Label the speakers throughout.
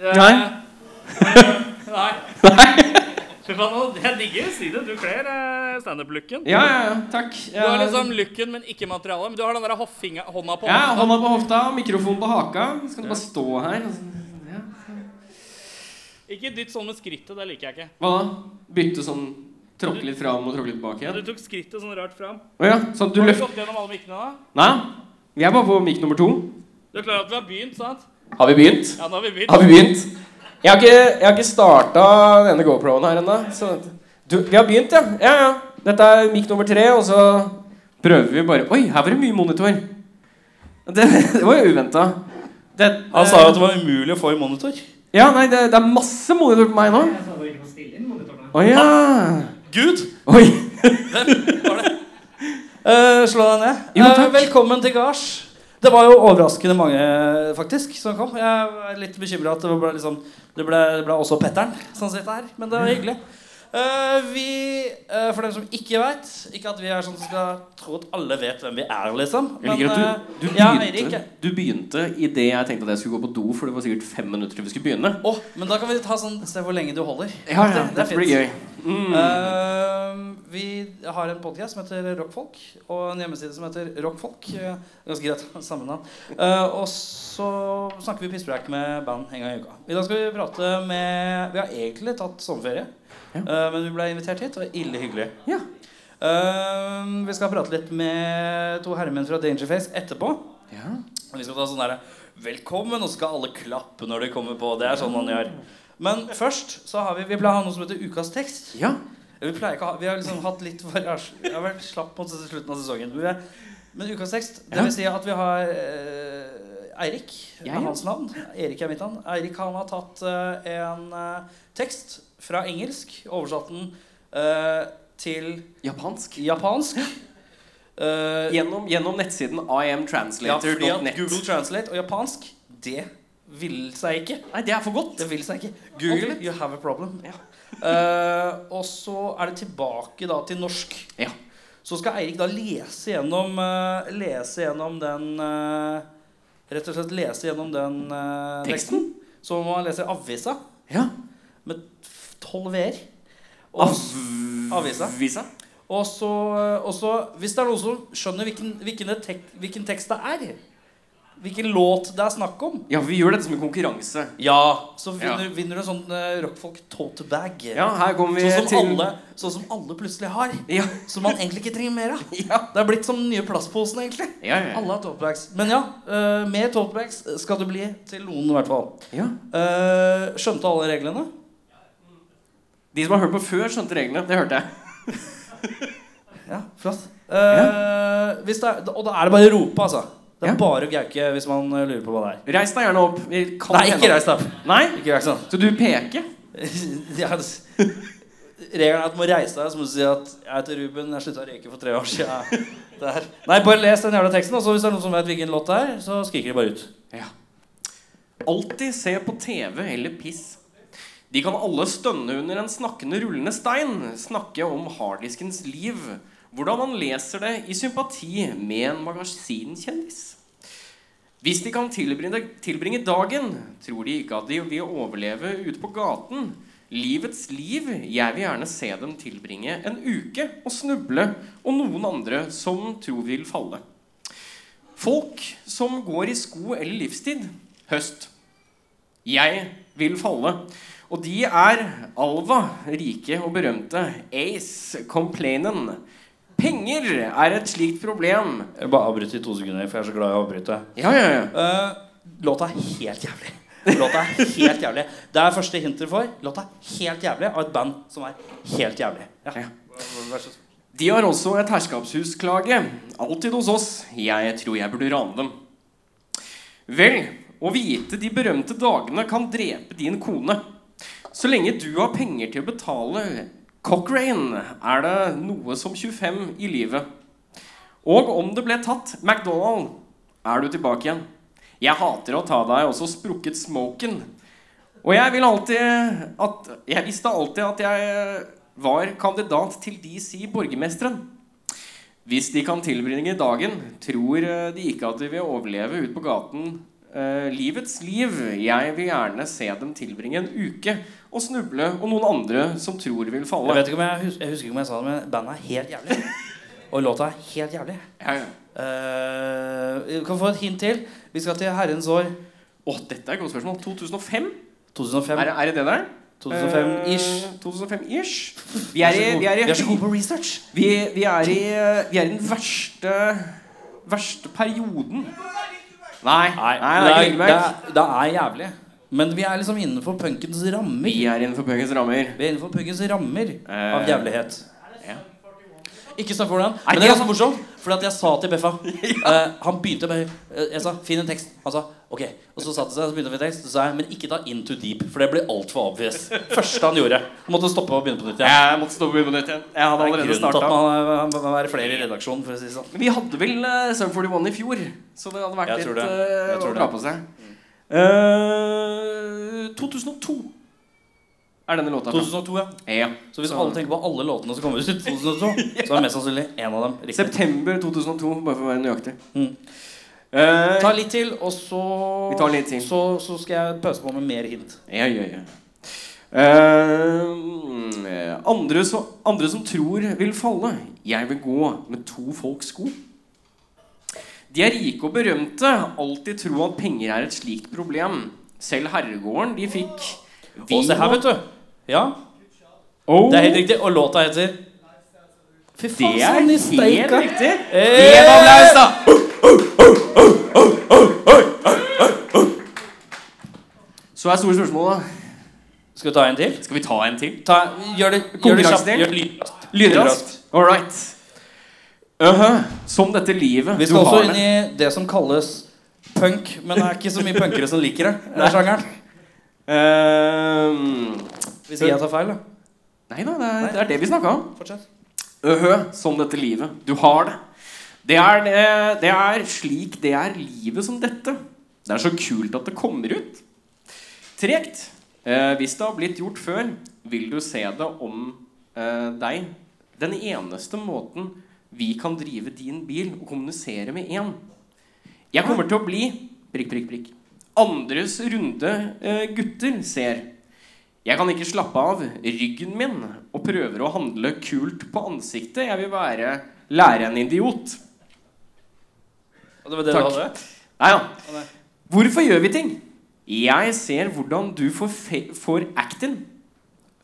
Speaker 1: Eh,
Speaker 2: Nei.
Speaker 1: Nei. Fy faen, nå- jeg digger si det. Du kler eh, standup-looken.
Speaker 2: Ja, ja, ja. Takk.
Speaker 1: Du har liksom looken, men ikke materialet. Men du har den der hoffinga, hånda på
Speaker 2: ja,
Speaker 1: hofta.
Speaker 2: Hånda på hofta, mikrofon på haka. Så kan du bare stå her. og så- Ja.
Speaker 1: Ikke dytt sånn med skrittet. Det liker jeg ikke.
Speaker 2: Hva da? Bytte sånn Tråkke litt fram og tråkke litt tilbake
Speaker 1: Du
Speaker 2: igjen?
Speaker 1: tok skrittet sånn rart fram.
Speaker 2: Å ja, sånn at du
Speaker 1: Har du
Speaker 2: løfter
Speaker 1: gått gjennom alle mikkene da?
Speaker 2: Nei, vi er bare på mic nummer to.
Speaker 1: Du er klar over at vi har begynt, sant?
Speaker 2: Har vi begynt?
Speaker 1: Ja, nå har vi begynt.
Speaker 2: Har vi begynt? Jeg har ikke, jeg har ikke starta denne GoProen her ennå. så- Du, Vi har begynt, ja. ja, ja. Dette er mic nummer tre, og så prøver vi bare Oi, her var det mye monitor. Det, det var jo uventa.
Speaker 3: Han sa jo at det var umulig å få i monitor.
Speaker 2: Ja, nei, det, det er masse monitor på meg nå. Å ja.
Speaker 3: Gud!
Speaker 2: Oi.
Speaker 3: Eh, slå deg ned.
Speaker 2: Jo,
Speaker 3: Eh,
Speaker 2: takk.
Speaker 3: velkommen til gards. Det var jo overraskende mange faktisk som kom. Jeg er litt bekymra at det ble, liksom, det ble, det ble også Petter'n som sitter her. Men det var hyggelig. Eh, vi, eh, For dem som ikke veit Ikke at vi er sånn som skal tro at alle vet hvem vi er, liksom.
Speaker 2: Jeg liker
Speaker 3: eh,
Speaker 2: at du, du,
Speaker 3: ja, Eirik,
Speaker 2: begynte, du begynte idet jeg tenkte at jeg skulle gå på do, for det var sikkert fem minutter til vi skulle begynne.
Speaker 3: Å, men da kan vi ta sånn Se hvor lenge du holder.
Speaker 2: Ja, ja,
Speaker 3: Det- det er
Speaker 2: det blir gøy. Mm.
Speaker 3: Ehm, vi har en podcast som heter Rockfolk, og en hjemmeside som heter Rockfolk. Eh, Ganske greit samme navn. Eh, og så snakker vi pisspreik med band en gang i uka. I dag skal vi prate med Vi har egentlig tatt sommerferie,
Speaker 2: Ja.
Speaker 3: eh, men vi ble invitert hit, og ille hyggelig.
Speaker 2: Ja.
Speaker 3: Ehm, vi skal prate litt med to herremenn fra Dangerface etterpå.
Speaker 2: Ja.
Speaker 3: Men Vi skal ta sånn derre Velkommen, og så skal alle klappe når de kommer på. Det er sånn man gjør. Men først så har vi Vi pleier å ha noe som heter Ukas tekst.
Speaker 2: ja.
Speaker 3: Vi pleier ikke å ha Vi har liksom hatt litt variasjon. Jeg har vært slapp mot slutten av sesongen. Men, vi er- men ukas tekst, det
Speaker 2: Ja.
Speaker 3: vil si at vi har eh, Eirik
Speaker 2: Ja, ja.
Speaker 3: er hans navn. Erik er mitt navn. Eirik han har tatt eh, en eh, tekst fra engelsk, oversatt den eh, til
Speaker 2: Japansk.
Speaker 3: japansk. Eh,
Speaker 2: Gjennom, gjennom nettsiden
Speaker 3: ja, fordi at
Speaker 2: iamtranslator.net.
Speaker 3: Google Translate og japansk, det vil seg ikke.
Speaker 2: Nei, det er for godt.
Speaker 3: Det vil seg ikke.
Speaker 2: Google
Speaker 3: Google, you have a problem.
Speaker 2: Ja.
Speaker 3: Eh, og så er det tilbake da til norsk.
Speaker 2: Ja.
Speaker 3: Så skal Eirik da lese gjennom, eh, lese gjennom den eh, Rett og slett lese gjennom den eh,
Speaker 2: Teksten?
Speaker 3: teksten. Som man leser avisa
Speaker 2: Ja.
Speaker 3: med f- tolv v-er. Og-
Speaker 2: Av...
Speaker 3: Avisa.
Speaker 2: Visa.
Speaker 3: Og så, eh, og så Hvis det er noen som skjønner hvilken, hvilken, det tek, hvilken tekst det er, hvilken låt det er snakk om,
Speaker 2: Ja, vi gjør dette som en konkurranse.
Speaker 3: ja, så
Speaker 2: Ja.
Speaker 3: vinner, vinner du en sånn eh, rockfolk tote bag.
Speaker 2: Ja, her kommer vi
Speaker 3: Sånn som,
Speaker 2: til
Speaker 3: alle, sånn som alle plutselig har.
Speaker 2: Ja.
Speaker 3: Som man egentlig ikke trenger mer av.
Speaker 2: Ja.
Speaker 3: Det er blitt som den nye plastposen, egentlig.
Speaker 2: Ja, ja,
Speaker 3: Alle har totebags. Men ja, eh, med totebags skal du bli til noen, i hvert fall.
Speaker 2: ja.
Speaker 3: Eh, skjønte alle reglene?
Speaker 2: De som har hørt på før, skjønte reglene. Det hørte jeg.
Speaker 3: Ja, flott. Eh, hvis det er, og da er det bare å rope, altså. Det
Speaker 2: Ja.
Speaker 3: er bare å gauke hvis man eh, lurer på hva det er.
Speaker 2: Reis deg gjerne opp. Vi kan
Speaker 3: Nei, ikke reis deg opp.
Speaker 2: deg Nei?
Speaker 3: Ikke reis deg opp.
Speaker 2: Så du peker?
Speaker 3: ja, det- regelen er at du må reise deg, så må du si at jeg heter Ruben, jeg slutta å røyke for tre år siden. Det er- Nei, bare les den jævla teksten, og så hvis det er noen som vet hvilken låt det er, så skriker de bare ut.
Speaker 2: Ja. Alltid se på TV eller piss. De kan alle stønne under en snakkende rullende stein, snakke om harddiskens liv, hvordan man leser det i sympati med en magasinkjendis. Hvis de kan tilbringe, tilbringe dagen, tror de ikke at de vil overleve ute på gaten. Livets liv. Jeg vil gjerne se dem tilbringe en uke og snuble, og noen andre som tror vil falle. Folk som går i sko eller livstid. Høst. Jeg vil falle. Og de er Alva, rike og berømte. Ace, Complainen. Penger er et slikt problem.
Speaker 3: Jeg bare avbryter i to sekunder, for jeg er så glad i å avbryte.
Speaker 2: Ja, ja, ja.
Speaker 3: Eh, låta er helt jævlig. Låta er helt jævlig. Det er første hinter for. Låta er helt jævlig av et band som er helt jævlig. Ja.
Speaker 2: Ja.
Speaker 3: Vær så snill.
Speaker 2: De har også et herskapshusklage. Alltid hos oss. Jeg tror jeg burde rane dem. Vel, å vite de berømte dagene kan drepe din kone. Så lenge du har penger til å betale Cochrane, er det noe som 25 i livet. Og om det ble tatt McDonald, er du tilbake igjen. Jeg hater å ta deg også sprukket smoken. Og jeg vil alltid at Jeg visste alltid at jeg var kandidat til DC-borgermesteren. Hvis de kan tilbringe dagen, tror eh, de ikke at de vil overleve ute på gaten eh, livets liv. Jeg vil gjerne se dem tilbringe en uke og snuble og noen andre som tror vil
Speaker 3: Jeg
Speaker 2: falle.
Speaker 3: vet ikke om jeg, hus jeg husker ikke om jeg sa det, men bandet er helt jævlig. Og låta er helt jævlig.
Speaker 2: Ja, ja.
Speaker 3: Eh, vi kan få et hint til. Vi skal til herrens år
Speaker 2: Å, dette er et godt spørsmål. 2005? Er,
Speaker 3: 2005.
Speaker 2: det- er det det der?
Speaker 3: 2005-ish.
Speaker 2: Eh, 2005-ish. Vi er i, vi er i,
Speaker 3: Vi er så gode på research.
Speaker 2: vi, vi er i, eh, vi er i den verste, verste perioden. Nei, nei, det er ikke
Speaker 3: det,
Speaker 2: Lillemark.
Speaker 3: er, det er jævlig. Men vi er liksom innenfor punkens rammer.
Speaker 2: Vi er innenfor punkens rammer.
Speaker 3: Vi er innenfor punkens rammer av
Speaker 2: Eh,
Speaker 3: jævlighet.
Speaker 2: ja.
Speaker 3: Ikke snakk for den.
Speaker 2: Nei,
Speaker 3: Men
Speaker 2: det
Speaker 3: det
Speaker 2: er
Speaker 3: er ganske morsomt, for at jeg sa til Beffa eh, Han begynte med eh, Jeg sa 'finn en tekst'. Han sa 'ok'. Og så satte han seg og begynte med tekst. Så sa jeg 'men ikke ta 'In Too Deep', for det blir altfor obvious'. Første han gjorde. Han måtte stoppe og begynne på nytt. Ja.
Speaker 2: Jeg måtte stoppe på nytt igjen. Jeg hadde
Speaker 3: Det er
Speaker 2: allerede
Speaker 3: grunnen til at
Speaker 2: starta.
Speaker 3: man eh, man må være flere i redaksjonen, for å si det sånn.
Speaker 2: Men vi hadde vel uh, Sum 41 i fjor, så det hadde vært
Speaker 3: Jeg tror
Speaker 2: litt
Speaker 3: det.
Speaker 2: eh,
Speaker 3: Jeg tror
Speaker 2: å dra
Speaker 3: det. Mm.
Speaker 2: på seg. Eh, 2002 er denne låta. fra.
Speaker 3: 2002, ja.
Speaker 2: Ja.
Speaker 3: Så hvis alle tenker på alle låtene som kommer ut i 2002, så er det mest sannsynlig en av dem riktig.
Speaker 2: September 2002, bare for å være nøyaktig.
Speaker 3: Mm.
Speaker 2: Eh,
Speaker 3: Ta litt til, og så
Speaker 2: Vi tar litt til.
Speaker 3: Så, så skal jeg pøse på med mer hint.
Speaker 2: ja, ja, ja. Eh, andre, så, andre som tror vil falle. Jeg vil gå med to folks sko. De er rike og berømte. Alltid tro at penger er et slikt problem. Selv herregården de fikk
Speaker 3: Og se her, vet du. Ja,
Speaker 2: Oh,
Speaker 3: det er helt riktig. Og låta heter Fy
Speaker 2: Det
Speaker 3: faen,
Speaker 2: er
Speaker 3: sånn i
Speaker 2: helt
Speaker 3: steika.
Speaker 2: riktig.
Speaker 3: Eh.
Speaker 2: Gi en applaus, da! Så er store spørsmålet, da.
Speaker 3: Skal vi ta en til?
Speaker 2: Skal vi ta en til?
Speaker 3: Ta, gjør det, gjør det kjapt.
Speaker 2: Konkurransedel.
Speaker 3: Gjør det lynraskt.
Speaker 2: Lynraskt. All right. Øhø. Som dette livet
Speaker 3: Vi
Speaker 2: du
Speaker 3: skal
Speaker 2: har
Speaker 3: også
Speaker 2: med.
Speaker 3: inn i det som kalles punk, men det er ikke så mye punkere som liker det. Det er sjangeren.
Speaker 2: Ehm,
Speaker 3: Hvis ikke jeg tar feil, da.
Speaker 2: Nei da, det er, det er det vi snakka om.
Speaker 3: Fortsett.
Speaker 2: Øhø. Som dette livet du har det. Det er, eh, det- det er slik det er livet som dette. Det er så kult at det kommer ut. Tregt. Eh, hvis det har blitt gjort før, vil du se det om eh, deg. Den eneste måten vi kan drive din bil og kommunisere med én. Jeg kommer til å bli prikk, prikk, prikk. Andres runde eh, gutter ser. Jeg kan ikke slappe av ryggen min og prøver å handle kult på ansiktet. Jeg vil være lære en idiot.
Speaker 3: Og det var det
Speaker 2: Takk.
Speaker 3: du hadde?
Speaker 2: Nei da.
Speaker 3: Å, nei.
Speaker 2: Hvorfor gjør vi ting? Jeg ser hvordan du får, fe får actin.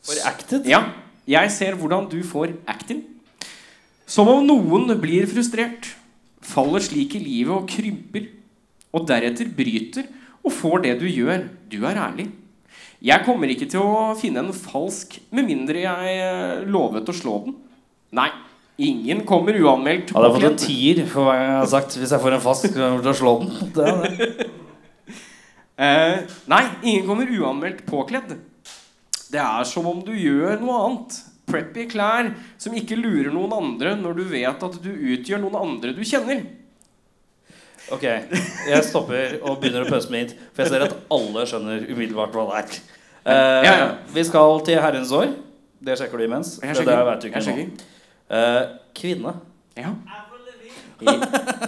Speaker 3: For acted?
Speaker 2: Ja, jeg ser hvordan du får actin. Som om noen blir frustrert, faller slik i livet og krymper, og deretter bryter og får det du gjør. Du er ærlig. Jeg kommer ikke til å finne en falsk med mindre jeg eh, lovet å slå den. Nei, ingen kommer uanmeldt.
Speaker 3: Hadde jeg fått en
Speaker 2: påkledd.
Speaker 3: tier for hva jeg har sagt hvis jeg får en fast, skulle jeg vært til å slå den. Det er det.
Speaker 2: Eh, nei, ingen kommer uanmeldt påkledd. Det er som om du gjør noe annet. Preppy klær som ikke lurer noen andre når du vet at du utgjør noen andre du kjenner.
Speaker 3: Ok, jeg stopper og begynner å pøse med hint, for jeg ser at alle skjønner umiddelbart hva det er. Eh,
Speaker 2: Ja, ja.
Speaker 3: Vi skal til herrens år. Det sjekker du imens.
Speaker 2: Jeg
Speaker 3: for det
Speaker 2: sjekker.
Speaker 3: vet du
Speaker 2: Jeg
Speaker 3: ikke nå.
Speaker 2: sjekker.
Speaker 3: Eh, kvinne.
Speaker 2: Ja.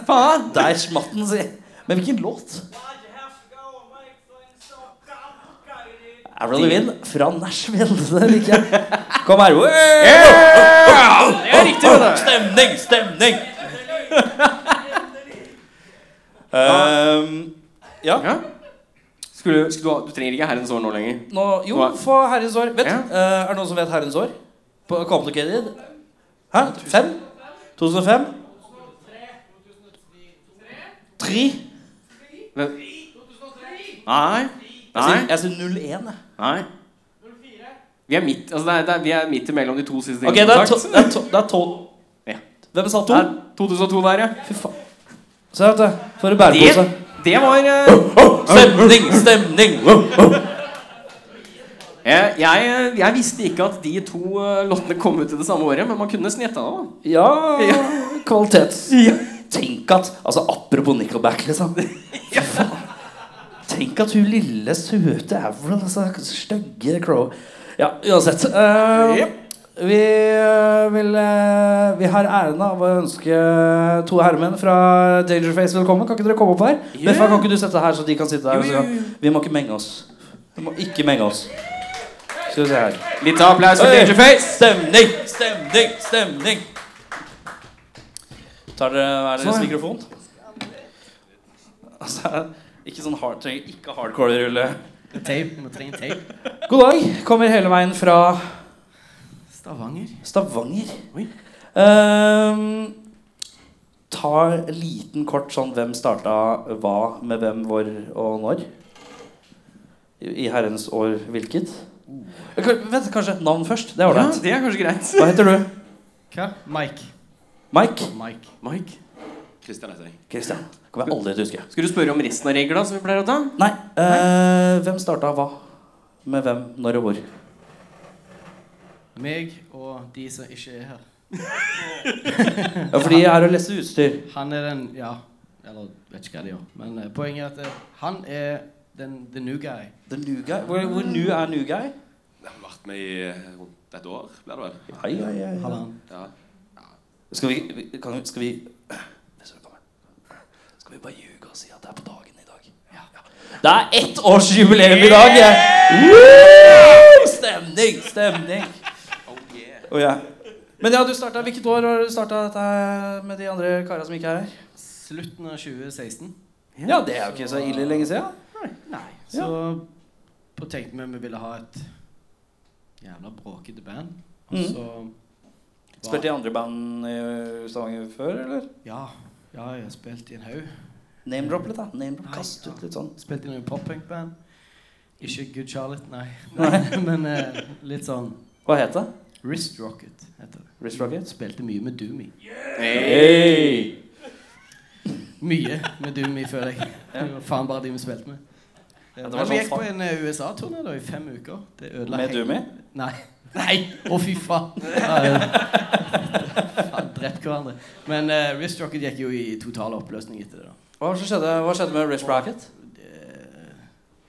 Speaker 2: Faen!
Speaker 3: Der smatt den, si! Men hvilken låt? Avril Lavigne fra Nashville. Det liker jeg. Kom her. Wow!
Speaker 2: Yeah! Det er riktig. vet du.
Speaker 3: Stemning, stemning! Eh, Ehm, ja.
Speaker 2: Ja. Skulle, skulle du, ha, du trenger ikke herrens år nå lenger.
Speaker 3: Nå, jo,
Speaker 2: Hva?
Speaker 3: få herrens år. Vet,
Speaker 2: Ja.
Speaker 3: eh, er det noen som vet herrens år? På Complicated? Hæ? Fem? 2005? Tre?
Speaker 2: Hvem? Nei.
Speaker 3: Jeg sier-
Speaker 2: Nei.
Speaker 3: Jeg sier 01, jeg.
Speaker 2: Nei. Vi er midt, altså det er, det er, vi er midt imellom de to siste
Speaker 3: Ok, det er to, det er to, det er to.
Speaker 2: Ja.
Speaker 3: Hvem sa to?
Speaker 2: Det er 2002 der, ja.
Speaker 3: Fy faen. Se, vet du. For en bærepose.
Speaker 2: Det, det var eh,
Speaker 3: Stemning, stemning!
Speaker 2: Eh, Jeg, jeg, jeg visste ikke at de to eh, låtene kom ut i det samme året, men man kunne snetta det.
Speaker 3: Ja,
Speaker 2: Ja.
Speaker 3: kvalitets...
Speaker 2: Ja.
Speaker 3: Tenk at Altså, apropos Nickelback, liksom. Fy faen. Tenk at hun lille, søte Avril altså, Stygge Crow. Ja, uansett. eh,
Speaker 2: Jep.
Speaker 3: Vi, eh, vil, eh, vi har æren av å ønske to herremenn fra Dangerface velkommen. Kan ikke dere komme opp her?
Speaker 2: Ja.
Speaker 3: Beffa, kan ikke du sette deg her, så de kan sitte her?
Speaker 2: Jo,
Speaker 3: så
Speaker 2: jo,
Speaker 3: kan- Vi må ikke menge oss. Vi må ikke menge oss. Skal vi se her.
Speaker 2: Litt applaus for
Speaker 3: Oi!
Speaker 2: Dangerface.
Speaker 3: Stemning, stemning, stemning! Tar dere hver deres
Speaker 2: Sånn, ja.
Speaker 3: mikrofon? Altså, ikke sånn hard, trenger ikke hardcore-rulle.
Speaker 4: Tape, må trenge tape.
Speaker 3: God dag. Kommer hele veien fra
Speaker 4: Stavanger.
Speaker 3: Stavanger.
Speaker 2: Oi.
Speaker 3: Ehm, ta en liten kort sånn hvem starta hva med hvem, hvor og når. I i herrens år hvilket. Kan- Vent, kanskje navn først? Det er
Speaker 2: Ja,
Speaker 3: ålreit.
Speaker 2: det er kanskje greit.
Speaker 3: Hva heter du?
Speaker 4: Hva? Mike.
Speaker 3: Mike?
Speaker 4: Mike.
Speaker 2: Mike. Christian heter jeg.
Speaker 3: Christian. Kommer jeg aldri til å huske.
Speaker 2: Skal du spørre om resten av reglene som vi pleier å ta?
Speaker 3: Nei. eh, hvem starta hva? Med hvem, når og hvor?
Speaker 4: Meg og de som ikke er her.
Speaker 3: Ja, fordi jeg er å lese utstyr.
Speaker 4: Han er den Ja. Eller vet ikke hva de gjør. Men eh, poenget er at eh, han er den the new guy.
Speaker 3: The new guy? Hvor, hvor nu er new guy?
Speaker 5: Jeg har vært med i eh, rundt et år, blir det vel?
Speaker 3: Ai, ai, ai, ai.
Speaker 4: Halvannen.
Speaker 5: Ja.
Speaker 3: Skal vi, vi- kan, vi- skal vi Hvis du kommer. Skal vi bare ljuge og si at det er på dagen i dag? Det er ettårsjubileum i dag! jeg. Woo! Stemning, stemning.
Speaker 5: Oh yeah.
Speaker 3: Å, ja. Men ja, du startet, hvilket år har du starta dette her med de andre karene som ikke er her?
Speaker 4: Slutten av 2016.
Speaker 3: Ja, det er jo ikke så ille lenge siden.
Speaker 4: Nei. Så på tenkte vi vi ville ha et jævla bråkete band. Og
Speaker 3: Mhm.
Speaker 4: så
Speaker 3: Spilte i andre band i Stavanger før, eller?
Speaker 4: Ja. Ja, jeg har spilt i en haug.
Speaker 3: Name-drop litt, da. Name-drop,
Speaker 4: Nei,
Speaker 3: Kast ut
Speaker 4: ja.
Speaker 3: litt sånn.
Speaker 4: Spilte i noen pop-punk-band. Ikke Good Charlotte, nei. Men, men eh, litt sånn
Speaker 3: Hva het det?
Speaker 4: Wrist Rocket heter det.
Speaker 3: Wrist Rocket?
Speaker 4: Spilte mye med Doomy.
Speaker 3: Hey.
Speaker 4: Mye med Doomy, føler jeg. Det var faen bare de vi spilte med.
Speaker 3: Ja, det var
Speaker 4: Men
Speaker 3: sånn
Speaker 4: vi gikk på en eh, USA-turné da i fem uker. Det ødela
Speaker 3: Med
Speaker 4: hele-
Speaker 3: Doomy?
Speaker 4: Nei. Nei! Å, fy faen. Ja, ja. Faen, Drept hverandre. Men eh, Wrist Rocket gikk jo i total oppløsning etter det. da.
Speaker 3: Hva, var det som skjedde, hva skjedde med Wrist Rocket?
Speaker 4: Det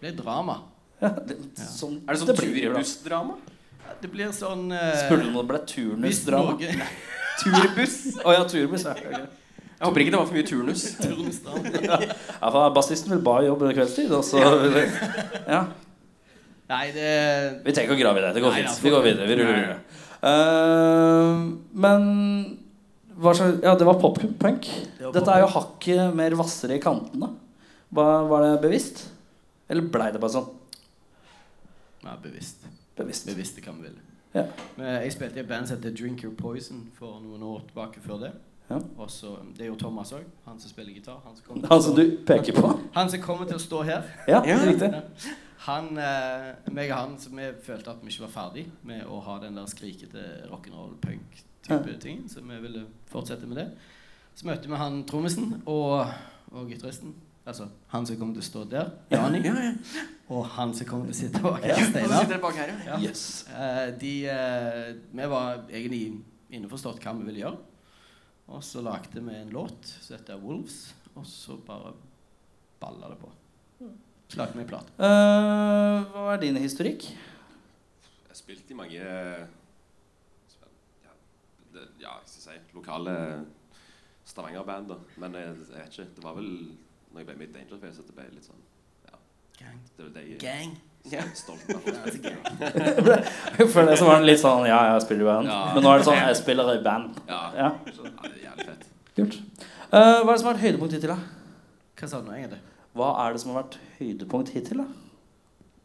Speaker 4: ble drama.
Speaker 3: Ja, det,
Speaker 4: Ja.
Speaker 3: sånn,
Speaker 2: Er det sånn
Speaker 3: blir bra.
Speaker 2: turbussdrama?
Speaker 4: Ja, Det blir sånn eh,
Speaker 3: Spurte du om det ble
Speaker 4: hvis
Speaker 3: turnusdrama?
Speaker 4: noe
Speaker 2: Turbuss?
Speaker 3: Å ja, turnus. Ja, ok.
Speaker 2: Jeg håper ikke det var for mye turnus.
Speaker 4: Turnstrand.
Speaker 3: ja, for bassisten vil bare jobbe kveldstid, og så ja.
Speaker 4: Nei, det
Speaker 3: Vi trenger ikke å grave i det. Det går
Speaker 4: Nei, da,
Speaker 3: fint.
Speaker 4: fuck
Speaker 3: Vi går
Speaker 4: it.
Speaker 3: videre. Vi ruller
Speaker 2: Nei.
Speaker 3: videre. Eh, men hva slags Ja, det var pop-punk.
Speaker 4: Det var
Speaker 3: Dette er jo hakket mer hvassere i kantene. Var, var det bevisst? Eller blei det bare sånn?
Speaker 4: Nei, bevisst.
Speaker 3: Bevisst.
Speaker 4: Vi visste hva vi ville.
Speaker 3: Ja.
Speaker 4: Men jeg spilte i et band som heter Drink Your Poison for noen år tilbake før det.
Speaker 3: Ja.
Speaker 4: Og så, um, Det gjorde Thomas òg, han som spiller gitar. Han som, kommer til å
Speaker 3: Han som
Speaker 4: stå-
Speaker 3: Altså, du peker på?
Speaker 4: han som kommer til å stå her.
Speaker 3: Ja, det er riktig.
Speaker 4: Han, eh, meg og han, så vi følte at vi ikke var ferdig med å ha den der skrikete rock'n'roll-punk-type ting, så vi ville fortsette med det. Så møtte vi han trommisen og, og gitaristen. Altså han som kommer til å stå der, Jani,
Speaker 2: Ja, ja.
Speaker 4: og han som kommer til å sitte bak
Speaker 3: Ja.
Speaker 4: her,
Speaker 2: Og så
Speaker 4: Steinar.
Speaker 2: sitter dere bak her, ja.
Speaker 4: Ja.
Speaker 3: Yes.
Speaker 4: Eh, de, eh, vi var egentlig innforstått hva vi ville gjøre. Og så lagde vi en låt som heter Wolves, og så bare balla det på. Så lagde vi en plate.
Speaker 3: Eh, hva er din historikk?
Speaker 5: Jeg har spilt i mange eh, spen- ja, det, ja, hva skal jeg si lokale Stavanger-band, da. Men jeg, jeg vet ikke. Det var vel når jeg ble med i Dangerface at det ble litt sånn
Speaker 4: Gang.
Speaker 5: Det var det jeg
Speaker 4: Gang.
Speaker 5: er stolt av.
Speaker 3: Før det så var det litt sånn Ja, jeg spiller i band.
Speaker 5: Ja.
Speaker 3: Men nå er det sånn Jeg spiller i band.
Speaker 5: Ja,
Speaker 3: Ja,
Speaker 5: så, ja, det er jævlig fett.
Speaker 3: kult. Eh, hva er det som har vært høydepunkt hittil, da?
Speaker 4: Hva sa du nå egentlig?
Speaker 3: Hva er det som har vært høydepunkt hittil, da?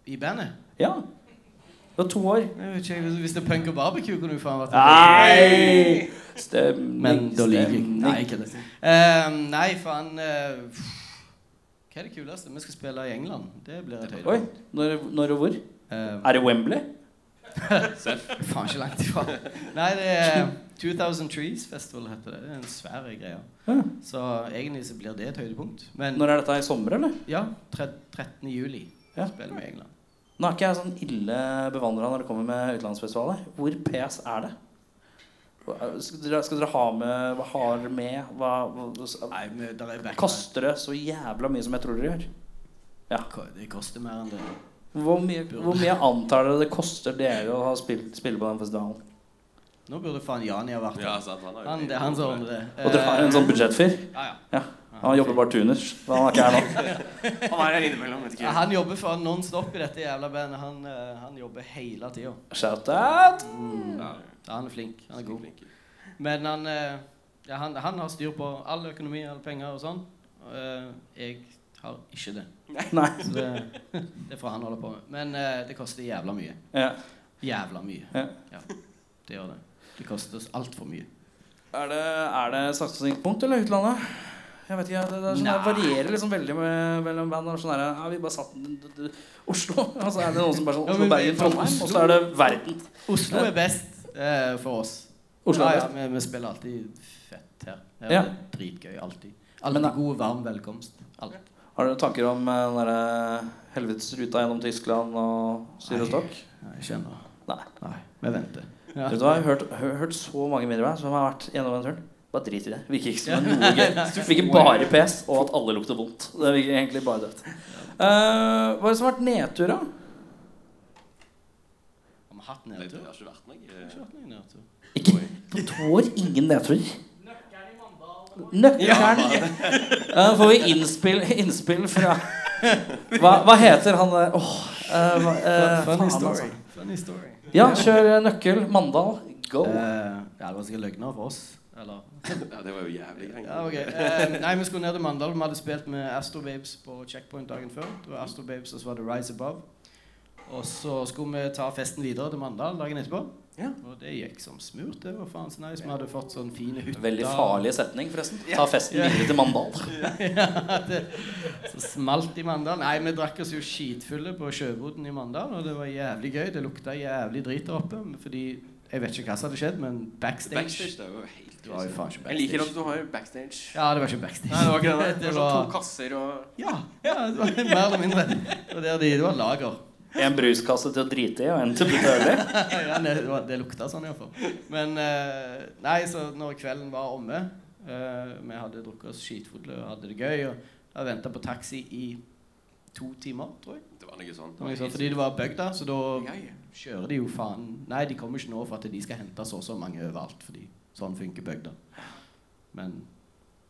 Speaker 4: I bandet?
Speaker 3: Ja. Det var to år.
Speaker 4: Jeg vet ikke, hvis- Hvis det er punk og barbecue, kunne du faen vært
Speaker 3: Nei! Stemning,
Speaker 4: Men da lyver jeg.
Speaker 3: stemning.
Speaker 4: Nei, ikke det. Eh, nei, faen eh, Hva er det kuleste? Vi skal spille i England. Det blir et
Speaker 3: Oi.
Speaker 4: høydepunkt.
Speaker 3: Når, når og hvor?
Speaker 4: Eh,
Speaker 3: Er det Wembley?
Speaker 4: Faen ikke langt ifra. Nei, det er 2000 Trees Festival heter det. Det er en svær greie.
Speaker 3: Ja.
Speaker 4: Så egentlig så blir det et høydepunkt. Men
Speaker 3: Når er dette? I sommer, eller?
Speaker 4: ja, tre- 13. juli
Speaker 3: Ja.
Speaker 4: spiller vi i England.
Speaker 3: Nå er ikke jeg sånn ille bevandra når det kommer med utenlandsfestivaler. Hvor pes er det? Skal dere, skal dere ha med Hva har dere med? Hva, hva,
Speaker 4: Nei, men der er back-
Speaker 3: koster det så jævla mye som jeg tror dere gjør?
Speaker 4: Ko- Det koster mer enn det.
Speaker 3: Hvor mye, hvor mye antar dere det koster dere å ha spill, spille på den festivalen?
Speaker 4: Nå burde faen Jani ha vært
Speaker 5: Ja,
Speaker 4: her.
Speaker 5: sant, han har jo
Speaker 4: Han, det er han som Eh, ordner det.
Speaker 3: Og dere har en sånn budsjettfyr?
Speaker 4: ja, ja.
Speaker 3: Ja. Han jobber bare tuners. så Han er ikke her nå.
Speaker 2: Han er her innimellom. vet
Speaker 4: Ja,
Speaker 2: ikke
Speaker 4: han jobber for non stop i dette jævla bandet. Han, eh, han jobber hele tida.
Speaker 3: Shout-out!
Speaker 5: Ja,
Speaker 4: Han er flink. Han er god.
Speaker 5: flink.
Speaker 4: Men han, eh, ja, han, han har styr på all økonomi, alle penger og sånn. Eh, Jeg har ikke det.
Speaker 3: Nei.
Speaker 4: Så det, det får han holde på med. Men eh, det koster jævla mye.
Speaker 3: Ja.
Speaker 4: Jævla mye.
Speaker 3: Ja.
Speaker 4: Ja, det gjør det. Det koster oss altfor mye.
Speaker 3: Er det, er det satsingspunkt eller utlandet? Jeg vet ikke, Det, det, er sånn, det
Speaker 4: Nei.
Speaker 3: varierer liksom veldig med, mellom band. og Sånn der, ja, vi bare satt d- d- d- Oslo. Og så er det noen som bare sånn
Speaker 4: Ja,
Speaker 3: Oslo,
Speaker 4: men-
Speaker 3: Bergen, Trondheim. Og så er det verden.
Speaker 4: Oslo er best eh, for oss.
Speaker 3: Oslo er
Speaker 4: ja,
Speaker 3: best.
Speaker 4: ja, vi, vi spiller alltid fett her. Her
Speaker 3: Ja.
Speaker 4: er det dritgøy. Alltid.
Speaker 3: Men
Speaker 4: Alltid
Speaker 3: da-
Speaker 4: god, varm velkomst. Alt.
Speaker 3: Har dere tanker om eh, den derre helvetes ruta gjennom Tyskland og Syrestokk?
Speaker 4: Nei, jeg skjønner.
Speaker 3: Nei.
Speaker 4: Nei, vi venter. Ja.
Speaker 3: Vet du hva, Jeg har hørt, hø- hørt så mange mindreband som har vært gjennom den turen. Bare drit i det. Virker ikke som noe gøy. Virker bare pes, og at alle lukter vondt. Det virker egentlig bare dødt. Eh, hva er det som har vært nedtur, da?
Speaker 4: Har vi hatt
Speaker 5: Nei, det
Speaker 4: nedtur?
Speaker 5: har ikke vært eh, meg.
Speaker 4: Har ikke hatt noen nedtur.
Speaker 3: Ikke på to år. Ingen nedturer. Nøkkelen. Da får vi innspill, innspill fra hva, hva heter han der Åh, eh, hva- eh, faen, altså.
Speaker 4: Funny story.
Speaker 3: Ja, kjør eh, nøkkel. Mandal. Go.
Speaker 4: Eh, ja, det var sikkert løgner for oss. Eller
Speaker 5: Ja, det var jo jævlig greier.
Speaker 4: Ja, ok. Eh, nei, vi skulle ned til Mandal. Vi hadde spilt med Astro Babes på Checkpoint dagen før. Det var Astro Babes, og så var det Rise Above. Og så skulle vi ta festen videre til Mandal dagen etterpå.
Speaker 2: Ja.
Speaker 4: Og det gikk som smurt. Det var faen så nice. Vi hadde fått sånn fine hytter.
Speaker 3: Veldig farlig setning, forresten. Ta festen videre til Mandal.
Speaker 4: Ja, det, så smalt i Mandal. Nei, vi drakk oss jo skitfulle på sjøboden i Mandal, og det var jævlig gøy. Det lukta jævlig drit der oppe, fordi jeg vet ikke hva som hadde skjedd, men backstage,
Speaker 5: Backstage, det var jo helt
Speaker 4: Det var jo faen ikke
Speaker 2: Jeg liker at
Speaker 4: backstage.
Speaker 2: du har backstage.
Speaker 4: Ja, det var ikke backstage.
Speaker 2: Nei, det var ikke det. Det var sånn to
Speaker 4: var-
Speaker 2: kasser og
Speaker 4: Ja, ja, det var mer eller mindre. Det var, der de, det var lager.
Speaker 3: En bruskasse til å drite i, og en til å bytte øl i.
Speaker 4: Ja, det, var, det lukta sånn iallfall. Men eh, Nei, så når kvelden var omme eh, Vi hadde drukket oss skitfulle og hadde det gøy. Og jeg venta på taxi i to timer, tror jeg.
Speaker 5: Det var noe sånt.
Speaker 4: Det var ikke sant, Fordi det var bygda, så da
Speaker 2: Ja, ja.
Speaker 4: kjører de jo faen Nei, de kommer ikke nå for at de skal hente så og så mange overalt, fordi sånn funker bygda. Men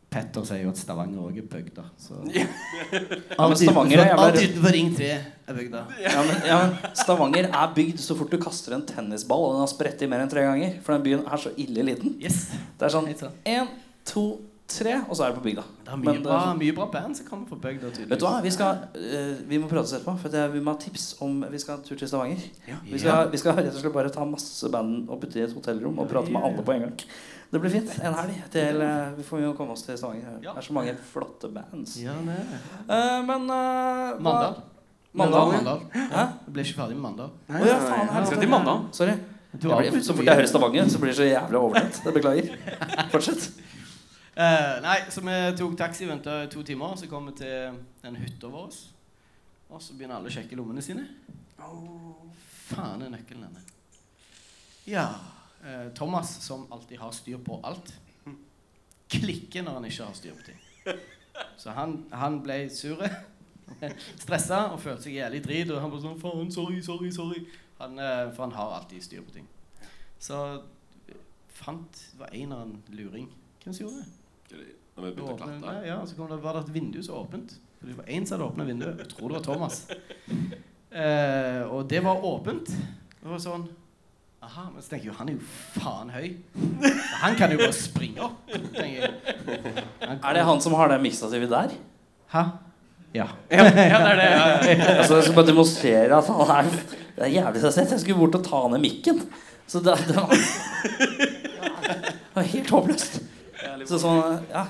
Speaker 4: Petter sier jo at Stavanger òg er bygda, så
Speaker 3: Ja, men Stavanger er jævla
Speaker 4: Alt utenfor Ring 3 er bygda.
Speaker 3: Ja, men, ja, men Stavanger er bygd så fort du kaster en tennisball og den har spredt i mer enn tre ganger. For den byen er så ille liten.
Speaker 4: Yes.
Speaker 3: Det er sånn
Speaker 4: Helt sant.
Speaker 3: én, to, tre, og så er det på bygda.
Speaker 4: Det er
Speaker 3: Men
Speaker 4: mye
Speaker 3: det er
Speaker 4: bra,
Speaker 3: sånn-
Speaker 4: mye bra band som kommer fra bygda, tydeligvis.
Speaker 3: Vet du hva, Vi, skal, eh, vi må prates etterpå, for det, vi må ha tips om Vi skal ha en tur til Stavanger. Vi skal, vi skal rett og slett bare ta masse band og putte i et hotellrom og prate med alle på en gang. Det blir fint. En helg til eh, Vi får jo komme oss til Stavanger. Det
Speaker 4: Ja.
Speaker 3: er så mange flotte bands.
Speaker 4: Ja, nei.
Speaker 3: Eh, men eh, hva-
Speaker 4: Mandal.
Speaker 3: Mandal, ja.
Speaker 4: Mandal.
Speaker 3: Hæ?
Speaker 4: Jeg ble ikke ferdig med Mandal.
Speaker 3: Å ja, faen. her
Speaker 2: Vi skal
Speaker 3: er
Speaker 2: til Mandal.
Speaker 3: det- Sorry. Jeg
Speaker 4: Du
Speaker 3: blir-
Speaker 4: avbryter
Speaker 3: Så
Speaker 4: mye.
Speaker 3: fort jeg hører Stavanger, så blir jeg så jævlig overtent. Jeg beklager. Fortsett.
Speaker 4: Eh, nei, så vi tok taxi, venta to timer, så kom vi til den hytta vår. Og så begynner alle å sjekke lommene sine. Faen er nøkkelen denne. Ja eh, Thomas, som alltid har styr på alt, klikker når han ikke har styr på ting. Så han, han ble sur, stressa og følte seg jævlig drit. Og han var sånn Faen, sorry, sorry, sorry. Han, eh, for han har alltid styr på ting. Så fant Det var en eller annen luring. Hvem som gjorde det?
Speaker 5: Når vi begynte å
Speaker 4: Åpne-
Speaker 5: klatre.
Speaker 4: Nei, ja, så kom det, var det et vindu som var åpent. Så Det var én som hadde åpna vinduet. Jeg tror det var Thomas. Eh, og det var åpent. Det var sånn Aha, men så tenker jeg jo, han er jo faen høy. Han kan jo bare springe opp, tenker jeg. Han,
Speaker 3: Er det han som har det mikstativet der?
Speaker 4: Hæ? Ja.
Speaker 2: Ja, ja, det er det.
Speaker 3: Altså, jeg skal bare demonstrere at han er Det er jævlig seg sett. Jeg skulle bort og ta ned mikken. Så det, det, var, det var helt håpløst. Så sånn Ja.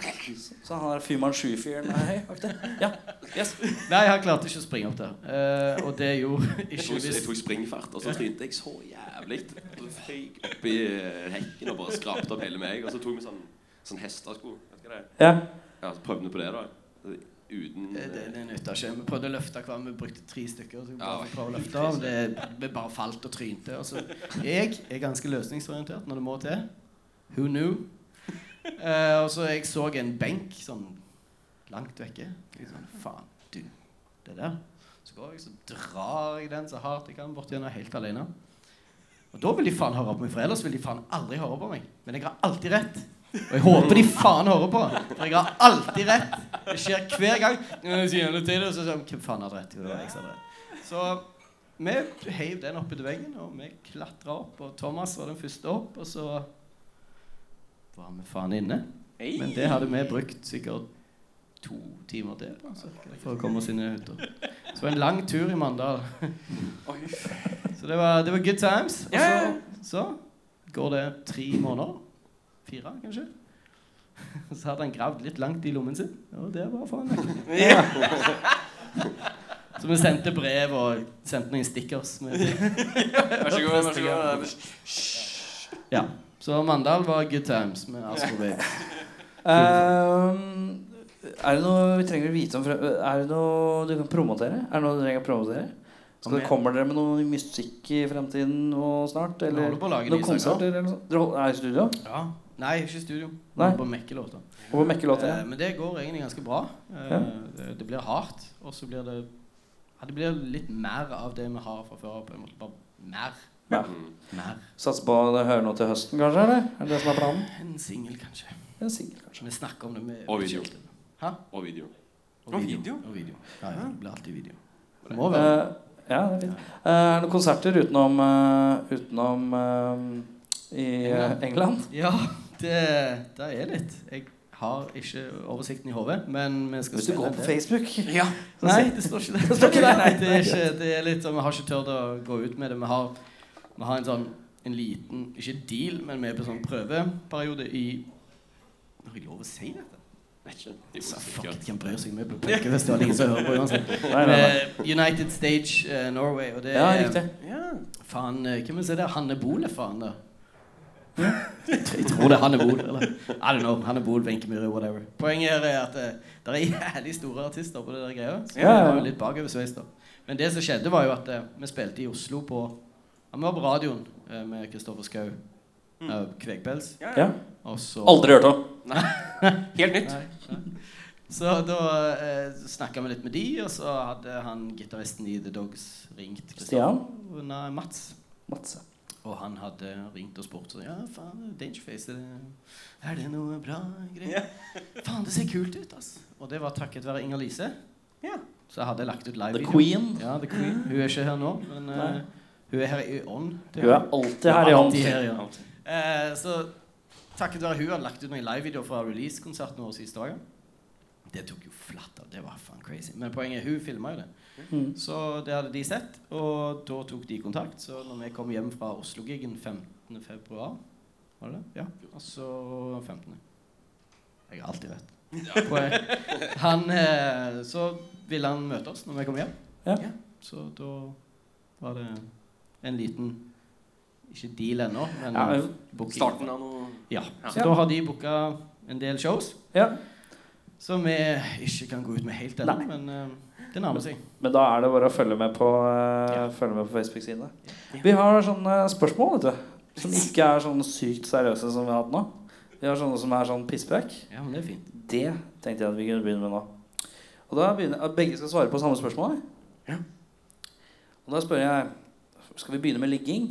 Speaker 3: Så han der Fyrmann 7-fyren er høy, var ikke det? Ja. Yes.
Speaker 4: Nei, han klarte ikke å springe opp der. Eh, og det gjorde
Speaker 5: Jeg
Speaker 4: ikke
Speaker 5: tok, jeg
Speaker 4: hvis
Speaker 5: tok springfart, og så trynte jeg så jævlig. Og så føyk opp i eh, hekken og bare skrapte opp hele meg. Og så tok vi sånn, sånn hestesko. Vet du hva det er?
Speaker 3: Ja.
Speaker 5: Ja, så prøvde vi på det, da. Uten eh,
Speaker 4: Det, Eh, det, det nytta ikke. Vi prøvde å løfte hver, vi brukte tre stykker. Så vi bare
Speaker 5: Ja,
Speaker 4: prøvde å løfte og det, Vi bare falt og trynte. Og så, jeg er ganske løsningsorientert når det må til. Who knew? Eh, og så jeg så en benk sånn langt vekke. Jeg sånn, Faen, du, det der. Så går jeg, så drar jeg den så hardt jeg kan bort gjennom helt alene. Og da vil de faen høre på meg, for ellers vil de faen aldri høre på meg. Men jeg har alltid rett. Og jeg håper de faen hører på, for jeg har alltid rett. Det skjer hver gang. Når jeg sier noe til det, så sier de, Hvem faen hadde rett? Jo, det var jeg som hadde rett. Så vi heiv den oppi veggen, og vi klatra opp. Og Thomas var den første opp, og så var vi faen inne.
Speaker 2: Hey.
Speaker 4: Men det hadde vi brukt sikkert to timer til på, cirka, for å komme oss inn i hytta. Så det var en lang tur i Mandal.
Speaker 2: Oi.
Speaker 4: Så det var, det var good times. Og
Speaker 2: Ja, ja, ja.
Speaker 4: så, så går det tre måneder. Fire, kanskje. Så hadde han gravd litt langt i lommen sin, og det var faen meg.
Speaker 2: Ja.
Speaker 4: Så vi sendte brev og sendte noen stickers. Med.
Speaker 2: Vær så god. vær så god
Speaker 4: Ja. Så Mandal var good times med Astro Baby.
Speaker 3: Ehm, er det noe vi trenger å vite om fra- Er det noe du kan promotere? Er det noe du trenger å promotere? Skal
Speaker 4: Om
Speaker 3: det,
Speaker 4: jeg-
Speaker 3: kommer dere med noe musikk i fremtiden og snart?
Speaker 4: Vi
Speaker 3: Eller
Speaker 4: holder på å lage
Speaker 3: noen
Speaker 4: nye sanger.
Speaker 3: konserter? eller noe sånt? Dere hold- er i studio?
Speaker 4: Ja. Nei, ikke i studio. Vi
Speaker 3: Nei.
Speaker 4: holder på å mekke låter.
Speaker 3: Og mekke
Speaker 4: Eh,
Speaker 3: låter?
Speaker 4: Men det går egentlig ganske bra. Eh,
Speaker 3: Ja.
Speaker 4: det- Det blir hardt, og så blir det ja, Det blir litt mer av det vi har fra før av. på en måte. Bare mer.
Speaker 3: Ja.
Speaker 5: Mm.
Speaker 4: Mer.
Speaker 3: Satser på å høre noe til høsten, kanskje? Eller? Er det det som er planen? Eh,
Speaker 4: En singel, kanskje.
Speaker 3: En singel, kanskje.
Speaker 4: Vi snakker om det med
Speaker 5: Og video.
Speaker 4: Hæ?
Speaker 5: Og video.
Speaker 2: Og video.
Speaker 4: Og video. Ja, ja, det blir alltid video. Det må være.
Speaker 3: Eh, ja, det er fint. Eh, er det noen konserter utenom, eh, utenom eh, i eh, England?
Speaker 4: Ja, det, det er litt. Jeg har ikke oversikten i hodet, men vi skal
Speaker 3: Hvis du
Speaker 4: spille
Speaker 3: går
Speaker 4: en
Speaker 3: på
Speaker 4: del.
Speaker 3: Facebook?
Speaker 2: Ja.
Speaker 4: Nei, det står ikke det.
Speaker 3: Det står ikke det.
Speaker 4: Nei, det er ikke, det er litt sånn, Vi har ikke turt å gå ut med det. Vi har, vi har en sånn en liten Ikke deal, men vi er på sånn prøveperiode i Har jeg lov å si dette?
Speaker 5: Vet ikke. Det er
Speaker 4: Så
Speaker 5: jo
Speaker 4: fuck it, hvem
Speaker 5: sikkert.
Speaker 4: bryr seg? Vi blir punkefestival, ingen som hører på uansett.
Speaker 3: Nei, nei, nei.
Speaker 4: Med United Stage eh, Norway, og det
Speaker 3: Ja,
Speaker 4: er-
Speaker 3: riktig.
Speaker 2: ja.
Speaker 4: Faen, eh, hvem vil si det? Hanne Bol er faen, da. Jeg tror det er Hanne Bol. Eller I don't know. Hanne Bol, Wenche Myhre, whatever. Poenget her er at det, det er jævlig store artister på det der greia. Så
Speaker 3: Ja, ja, ja.
Speaker 4: det er jo litt bakoversveis, da. Men det som skjedde, var jo at eh, vi spilte i Oslo på ja, Vi var på radioen eh, med Kristoffer Schou. eh, Kvegpels.
Speaker 2: ja.
Speaker 3: Ja.
Speaker 4: Og så
Speaker 3: Aldri hørt om.
Speaker 2: Helt nytt.
Speaker 4: Nei, nei. Så da eh, snakka vi litt med de, og så hadde han gitaristen i The Dogs ringt Kristoffer. Nei, Mats.
Speaker 3: Matse.
Speaker 4: Og han hadde ringt og spurt sånn Ja, faen, Dangerface, er det, er det noe bra greier? Faen, det ser kult ut, ass. Og det var takket være Inger-Lise.
Speaker 2: Ja.
Speaker 4: Så jeg hadde lagt ut
Speaker 3: The
Speaker 4: live
Speaker 3: Queen.
Speaker 4: Ja, The Queen. Hun er ikke her nå, men eh,
Speaker 3: Nei.
Speaker 4: hun er her i ånd. til
Speaker 3: Hun
Speaker 4: meg.
Speaker 3: er alltid her i hånd.
Speaker 4: Alltid her i ånd. Eh, så takket være hun hadde lagt ut noen livevideoer fra releasekonserten vår siste dagen. Det tok jo flatt av. Det var faen crazy. Men poenget er hun filma jo det.
Speaker 3: Mm.
Speaker 4: Så det hadde de sett, og da tok de kontakt. Så når vi kom hjem fra Oslo-gigen 15. februar Var det det? Ja. Altså 15. Jeg har alltid rett. Poeng. Han, eh, så ville han møte oss når vi kom hjem.
Speaker 3: Ja.
Speaker 4: Så da var det en liten Ikke deal ennå, men
Speaker 3: Ja, men
Speaker 4: booking.
Speaker 2: Starten av noe
Speaker 4: Ja.
Speaker 2: Ja.
Speaker 4: Så da har de booka en del shows
Speaker 3: Ja.
Speaker 4: som vi ikke kan gå ut med helt ennå, men eh, det nærmer seg.
Speaker 3: Men da er det bare å følge med på, eh, følge med på Facebook-sidene. Vi har sånne spørsmål vet du, som ikke er sånn sykt seriøse som vi har hatt nå. Vi har sånne som er sånn pisspreik.
Speaker 4: Ja, men det er fint.
Speaker 3: Det tenkte jeg at vi kunne begynne med nå. Og da begynner at Begge skal svare på samme spørsmål. jeg. Og da spør jeg Skal vi begynne med ligging?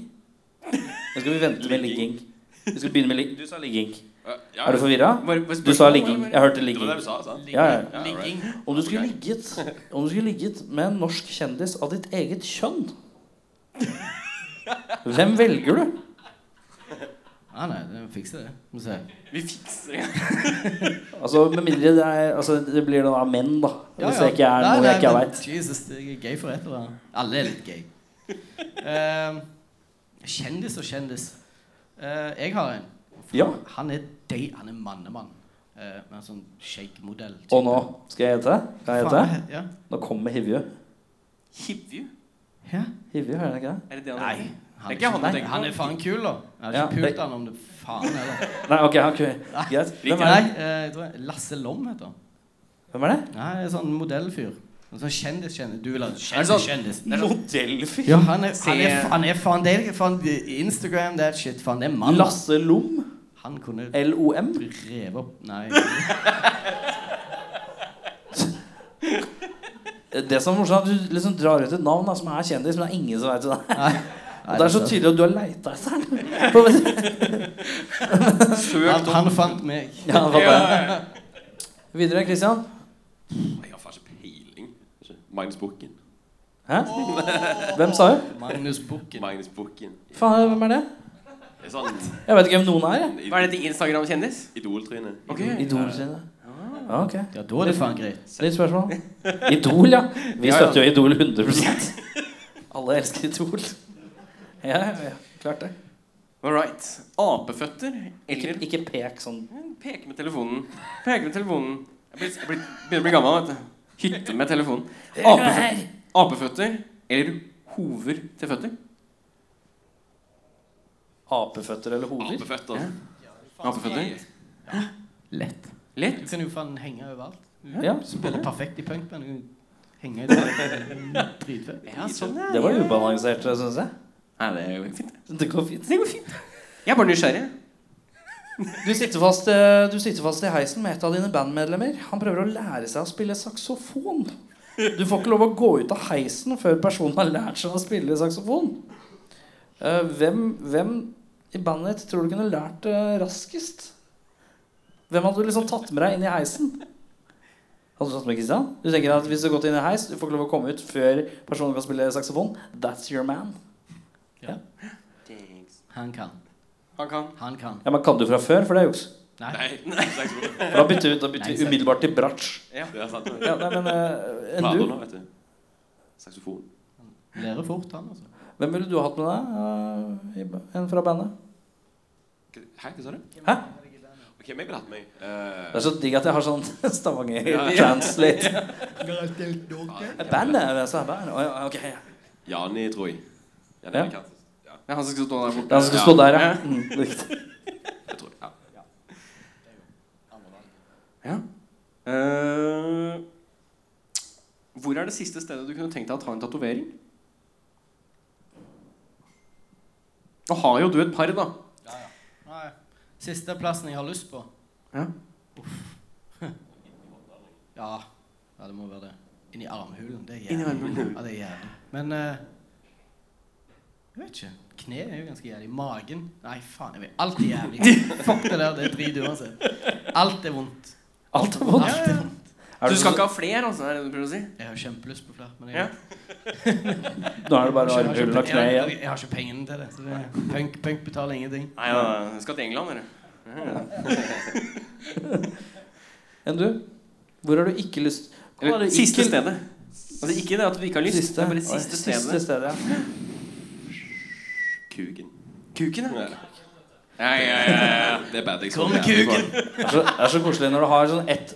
Speaker 3: Eller skal vi vente med ligging? Vi skal begynne med li du sa ligging.
Speaker 5: Ja, ja,
Speaker 3: Er du forvirra?
Speaker 2: Var- var
Speaker 3: Du sa ligging. Jeg hørte
Speaker 5: Det var det
Speaker 3: ligging.
Speaker 5: du sa, sant?
Speaker 3: Ja, ja.
Speaker 5: Ja, right.
Speaker 4: Ligging.
Speaker 3: Om du skulle ligget Om du skulle ligget med en norsk kjendis av ditt eget kjønn Hvem velger du?
Speaker 4: Ja, nei, det fikser det. Må se.
Speaker 2: Vi fikser det.
Speaker 3: Altså, med mindre det, er, altså, det blir noen av menn, da. Hvis det ikke er
Speaker 4: Nei,
Speaker 3: noe
Speaker 4: nei,
Speaker 3: jeg ikke
Speaker 4: men
Speaker 3: veit.
Speaker 4: Jesus, jeg er gay for et eller annet. Alle er litt gay. Ehm, kjendis og kjendis. Eh, jeg har en.
Speaker 3: Ja.
Speaker 4: Han er de, han er mannemann. Eh, men sånn shake-modell.
Speaker 3: Og nå skal jeg hete? Kan jeg hete?
Speaker 4: Ja.
Speaker 3: Nå kommer Hivju.
Speaker 2: Hivju?
Speaker 4: ja.
Speaker 3: Hivju, er det ikke det?
Speaker 2: Er det det han
Speaker 4: Nei.
Speaker 2: heter?
Speaker 4: Han
Speaker 2: Det er ikke
Speaker 4: er,
Speaker 2: han du
Speaker 4: ikke-
Speaker 2: tenker på.
Speaker 4: han er faen kul, da. Jeg har ikke
Speaker 3: Ja, det-
Speaker 4: pult han om det faen heller.
Speaker 3: Nei, ok, han kunne Greit. Hvem er,
Speaker 4: Nei,
Speaker 3: det?
Speaker 4: eh, jeg tror Lasse Lom heter han.
Speaker 3: Hvem er det?
Speaker 4: Nei, en sånn modellfyr. En sånn kjendis-kjendis. Du vil ha
Speaker 2: Er det sånn-
Speaker 4: kjendis-kjendis.
Speaker 2: Det er sånn- Modellfyr?
Speaker 4: Ja, han er,
Speaker 2: Se-
Speaker 4: han er, han er faen det er faen Instagram, that shit, faen, det er mann.
Speaker 3: Lasse Lom?
Speaker 4: Han kunne
Speaker 3: L-O-M?
Speaker 4: reve opp Nei.
Speaker 3: Det som er morsomt, er at du liksom drar ut et navn da, som er kjendis, men det er ingen som veit det.
Speaker 4: Nei.
Speaker 3: Og det er så tydelig at du har leita etter den.
Speaker 4: Han,
Speaker 2: Søkt
Speaker 4: han fant meg.
Speaker 3: ja, hva da? Videre, Christian.
Speaker 5: Jeg har faen ikke peiling. Ikke? Magnus Bukken.
Speaker 3: Hæ? Hvem sa du?
Speaker 4: Magnus Bukken.
Speaker 5: Magnus Bukken.
Speaker 3: Faen, hvem er det?
Speaker 5: Det er sånn
Speaker 3: Jeg vet ikke hvem noen er. jeg.
Speaker 2: Hva er dette Instagram-kjendis?
Speaker 5: Idol-tryne. Mhm.
Speaker 2: Ok.
Speaker 3: Idol sine. Ja, ok.
Speaker 4: Ja, da er det faen greit.
Speaker 3: Litt spørsmål. Idol, ja. Vi
Speaker 2: Ja, ja.
Speaker 3: støtter jo Idol 100 Alle elsker Idol. Ja, ja, ja. Klart det.
Speaker 2: All right. Apeføtter
Speaker 3: Ikke,
Speaker 2: eller
Speaker 3: ikke pek sånn.
Speaker 2: Peke med telefonen. Peke med telefonen. Jeg blir, jeg blir, begynner å bli gammel, vet du. Hytte med telefonen. Apeføtter, apeføtter eller hover til føtter?
Speaker 3: Apeføtter eller hoder?
Speaker 5: Apeføtter.
Speaker 2: Apeføtter? Lett. Lett?
Speaker 4: Du kan jo faen henge overalt. Du
Speaker 3: Ja.
Speaker 4: spiller perfekt i punkband. Du kan henge i det. Dritfett.
Speaker 2: Ja, sånn, ja.
Speaker 3: Det var ubalansert, syns jeg.
Speaker 2: Nei, det går fint.
Speaker 3: Det går fint.
Speaker 2: Det går fint. Jeg er bare nysgjerrig.
Speaker 3: Du sitter, fast, eh, du sitter fast i heisen med et av dine bandmedlemmer. Han prøver å lære seg å spille saksofon. Du får ikke lov å gå ut av heisen før personen har lært seg å spille saksofon. Eh, Hvem, hvem i bandet ditt tror du kunne lært det raskest? Hvem hadde du liksom tatt med deg inn i heisen? Hadde du tatt med Kristian? Du tenker at Hvis du har gått inn i heis, du får ikke lov å komme ut før personen kan spille saksofon. That's your man.
Speaker 4: Han kan.
Speaker 2: Han kan.
Speaker 4: Han kan.
Speaker 3: Ja, Men kan du fra før? For det er juks.
Speaker 4: Nei.
Speaker 5: Nei, slags ord.
Speaker 3: For Da bytter vi- da bytter vi umiddelbart til bratsj.
Speaker 5: Det er sant.
Speaker 3: Ja, nei, men eh, enn
Speaker 5: Planer
Speaker 3: du?
Speaker 5: nå, vet du. Saksofon.
Speaker 4: Lærer fort, han, altså.
Speaker 3: Hvem ville du hatt med deg? eh, i ba- en fra bandet?
Speaker 5: Hæ, hva sa du?
Speaker 3: Hæ?
Speaker 5: Ok, meg ville hatt meg. eh,
Speaker 3: Det er så digg at jeg har sånn Stavanger
Speaker 5: Ja.
Speaker 3: translate.
Speaker 5: Eh,
Speaker 3: Bandet er det, så er bandet. Å, ja, ok, ja.
Speaker 5: Jani, tror jeg. Jani
Speaker 3: Ja.
Speaker 5: Amerikansk. Ja.
Speaker 2: Det er han som skal stå der
Speaker 3: Det er
Speaker 2: borte.
Speaker 3: han som skal stå der, ja. Mm, riktig.
Speaker 5: Jeg tror, ja.
Speaker 2: Ja. Eh, hvor er det siste stedet du kunne tenkt deg å ta en tatovering? Nå har jo du et par, da.
Speaker 4: Nei. Siste plassen jeg har lyst på.
Speaker 2: Ja.
Speaker 4: Ja. ja, det må være det. Inni armhulen. Det er
Speaker 2: Inni
Speaker 4: jævlig.
Speaker 2: armhulen.
Speaker 4: Ja, det er jævlig. Men eh, jeg vet ikke. Kne er jo ganske jævlig. Magen Nei, faen. jeg vet. Alt er jævlig. Fuck det der. Det er drit uansett. Alt er vondt.
Speaker 3: Alt er
Speaker 4: Alt
Speaker 3: vondt.
Speaker 4: er vondt.
Speaker 3: Er
Speaker 2: Du
Speaker 3: du
Speaker 2: skal
Speaker 3: så-
Speaker 2: ikke ha flere, altså? Er det det du prøver å si?
Speaker 4: Jeg har kjempelyst på flere, men jeg,
Speaker 2: Ja.
Speaker 3: Nå er det bare
Speaker 4: jeg, har ikke,
Speaker 3: armhulen og
Speaker 4: jeg,
Speaker 3: kne
Speaker 4: har,
Speaker 3: igjen.
Speaker 4: jeg har ikke pengene til det. Så det punk, punk betaler ingenting.
Speaker 2: Nei, ja, du skal til England, dere.
Speaker 3: Enn du? Hvor har du ikke lyst Hvor har du
Speaker 2: Eller,
Speaker 3: ikke-
Speaker 2: siste stedet. Altså ikke det at du ikke har lyst, det er bare
Speaker 3: Oi,
Speaker 2: siste stedet.
Speaker 3: Siste stedet, ja.
Speaker 5: Kuken.
Speaker 2: Kuken, ja.
Speaker 5: Ja.
Speaker 2: Ja, ja, ja, ja.
Speaker 5: Det er bad jeg
Speaker 4: Kom
Speaker 5: så
Speaker 4: med
Speaker 5: jævlig på.
Speaker 4: kuken!
Speaker 3: Det er så, det er så koselig når du har sånn ett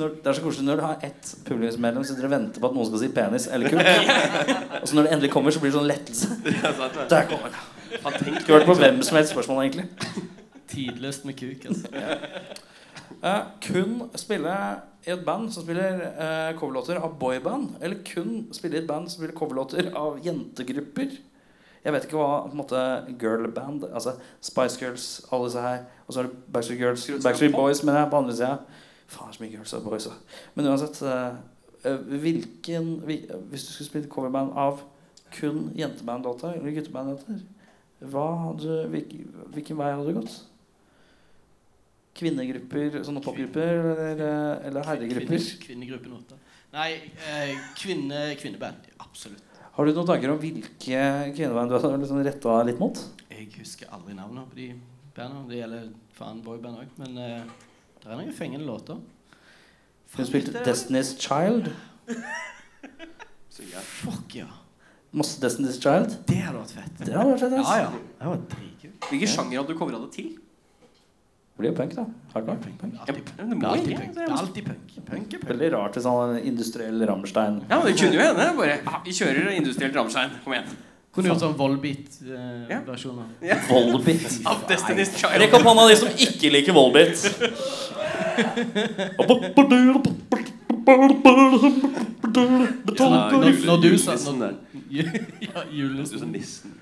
Speaker 3: når, Det er så koselig når du har ett publikumsmedlem som sitter og venter på at noen skal si penis eller kuk. Og så når det endelig kommer, så blir det sånn lettelse.
Speaker 5: Ja, sant det.
Speaker 3: Der kommer det.
Speaker 5: Han tenker
Speaker 3: Skulle vært på hvem som helst spørsmål, egentlig.
Speaker 4: Tidløst med kuk, altså.
Speaker 3: Eh, kun spille i et band som spiller eh, coverlåter av boyband, eller kun spille i et band som spiller coverlåter av jentegrupper. Jeg vet ikke hva på en måte girlband Altså Spice Girls, alle disse her. Og så er det Backstreet Girls Backstreet Boys, mener jeg, på andre sida. Faen, det er så mye girls og boys. da. Men uansett eh, eh, Hvilken hvil- eh, Hvis du skulle spille coverband av kun jentebandlåter eller guttebandlåter, hva hadde, hvilken, hvilken vei hadde du gått? Kvinnegrupper, sånne popgrupper, eller, eh, eller herregrupper?
Speaker 4: Kvinne- Kvinnegruppen åtte. Nei, eh, kvinne, kvinneband. Absolutt.
Speaker 3: Har du noen tanker om hvilke kvinneband du har liksom retta litt mot?
Speaker 4: Jeg husker aldri navnene på de bandene. Det gjelder faen boyband òg. Men eh, det er noen fengende låter.
Speaker 3: Hun
Speaker 4: Faen,
Speaker 3: spilte
Speaker 4: det-
Speaker 3: Destiny's Child.
Speaker 5: Synger.
Speaker 4: Fuck, ja.
Speaker 3: Masse Destiny's Child.
Speaker 4: Det hadde vært fett.
Speaker 3: Det hadde vært fett. ass.
Speaker 4: Ja, ja. Det var dritkult.
Speaker 2: Hvilken sjanger hadde du covra det til?
Speaker 3: Det blir jo punk, da. Hardcore. Punk.
Speaker 2: Ja, men
Speaker 4: Alltid punk.
Speaker 2: det
Speaker 4: Det er
Speaker 2: må
Speaker 4: alltid
Speaker 2: ikke.
Speaker 4: punk.
Speaker 2: det
Speaker 4: Det
Speaker 2: er
Speaker 4: er
Speaker 2: masse-
Speaker 4: alltid punk. Punk er punk.
Speaker 3: Veldig rart til sånn industriell Rammstein.
Speaker 2: Ja, men det kunne jo hende. Bare, ja, vi kjører industrielt Rammstein. Kom igjen.
Speaker 4: Kunne gjort sånn
Speaker 2: Ja.
Speaker 4: Volbeat-versjoner.
Speaker 3: Volbit.
Speaker 2: Av Destiny's Child.
Speaker 3: Rekk opp hånda de som ikke liker Volbit.
Speaker 5: Ja,
Speaker 4: Når,
Speaker 5: jule-
Speaker 4: når du sa
Speaker 5: julenissen
Speaker 4: når,
Speaker 5: der.
Speaker 4: Ja,
Speaker 5: Du sa
Speaker 4: julenissen.
Speaker 5: nissen.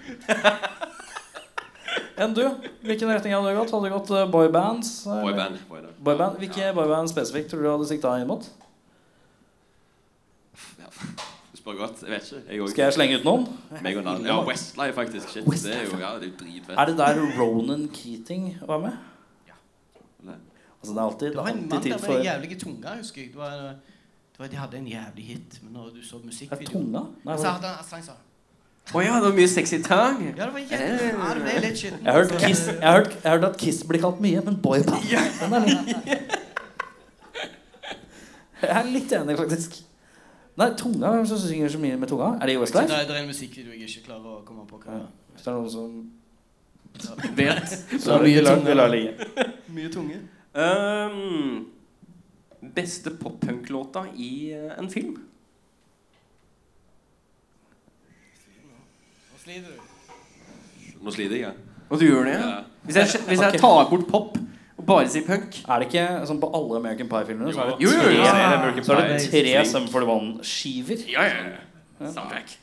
Speaker 3: Enn du? Hvilken retning hadde du gått? Hadde du gått eh, boybands? eller-
Speaker 5: Boyband. boyband.
Speaker 3: Boyband? Hvilke boyband spesifikt tror du du hadde sikta inn mot?
Speaker 5: Ja. Du spør godt. Jeg vet ikke. Jeg òg.
Speaker 3: Skal jeg slenge ut noen?
Speaker 5: Meg og Nan- Ja, Westlife, faktisk. Shit, det er jo, ja, det er jo dritfett.
Speaker 3: Er det der Ronan Keating var med?
Speaker 5: Nei.
Speaker 3: Altså, det er alltid,
Speaker 4: Det var en mann
Speaker 3: alltid
Speaker 4: der
Speaker 3: tid
Speaker 4: med
Speaker 3: for
Speaker 4: en jævlig tunge, husker jeg. Det var, det var, de hadde en jævlig hit, men når du så
Speaker 3: Er det
Speaker 4: musikkvideoen
Speaker 3: tunga? Nei,
Speaker 4: Så
Speaker 3: hva-
Speaker 4: hadde han sang sånn.
Speaker 2: Å ja, det var mye sexy tang.
Speaker 4: Ja, det var jævlig ja, det ble litt skitten.
Speaker 3: jeg har hørt, Kiss, jeg har hørt, jeg har hørt at Kiss blir kalt mye, men boyband den er litt Jeg er litt enig, faktisk. Nei, tunga, Hvem er det som synger så mye med tunga? Er det
Speaker 4: Så det
Speaker 3: Westlife?
Speaker 4: er det er en musikkvideo jeg ikke klarer å komme på hva
Speaker 3: Hvis det er noen som
Speaker 2: Vet.
Speaker 4: Så mye tunge.
Speaker 3: Vi lar det ligge.
Speaker 4: Mye tunge.
Speaker 2: Um, beste pop-punk-låta i eh, en film?
Speaker 4: Nå sliter du.
Speaker 5: Nå sliter jeg.
Speaker 2: Og du gjør det?
Speaker 5: Ja.
Speaker 2: Ja. Hvis, jeg, hvis jeg tar bort pop og bare sier punk
Speaker 3: Er det ikke sånn på alle American Pie-filmene? Så er det
Speaker 2: Jo, jo, jo.
Speaker 3: tre,
Speaker 2: Ja.
Speaker 3: så er det
Speaker 4: Pie.
Speaker 3: tre Sum 41-skiver.
Speaker 2: Ja, ja, ja. Soundtrack.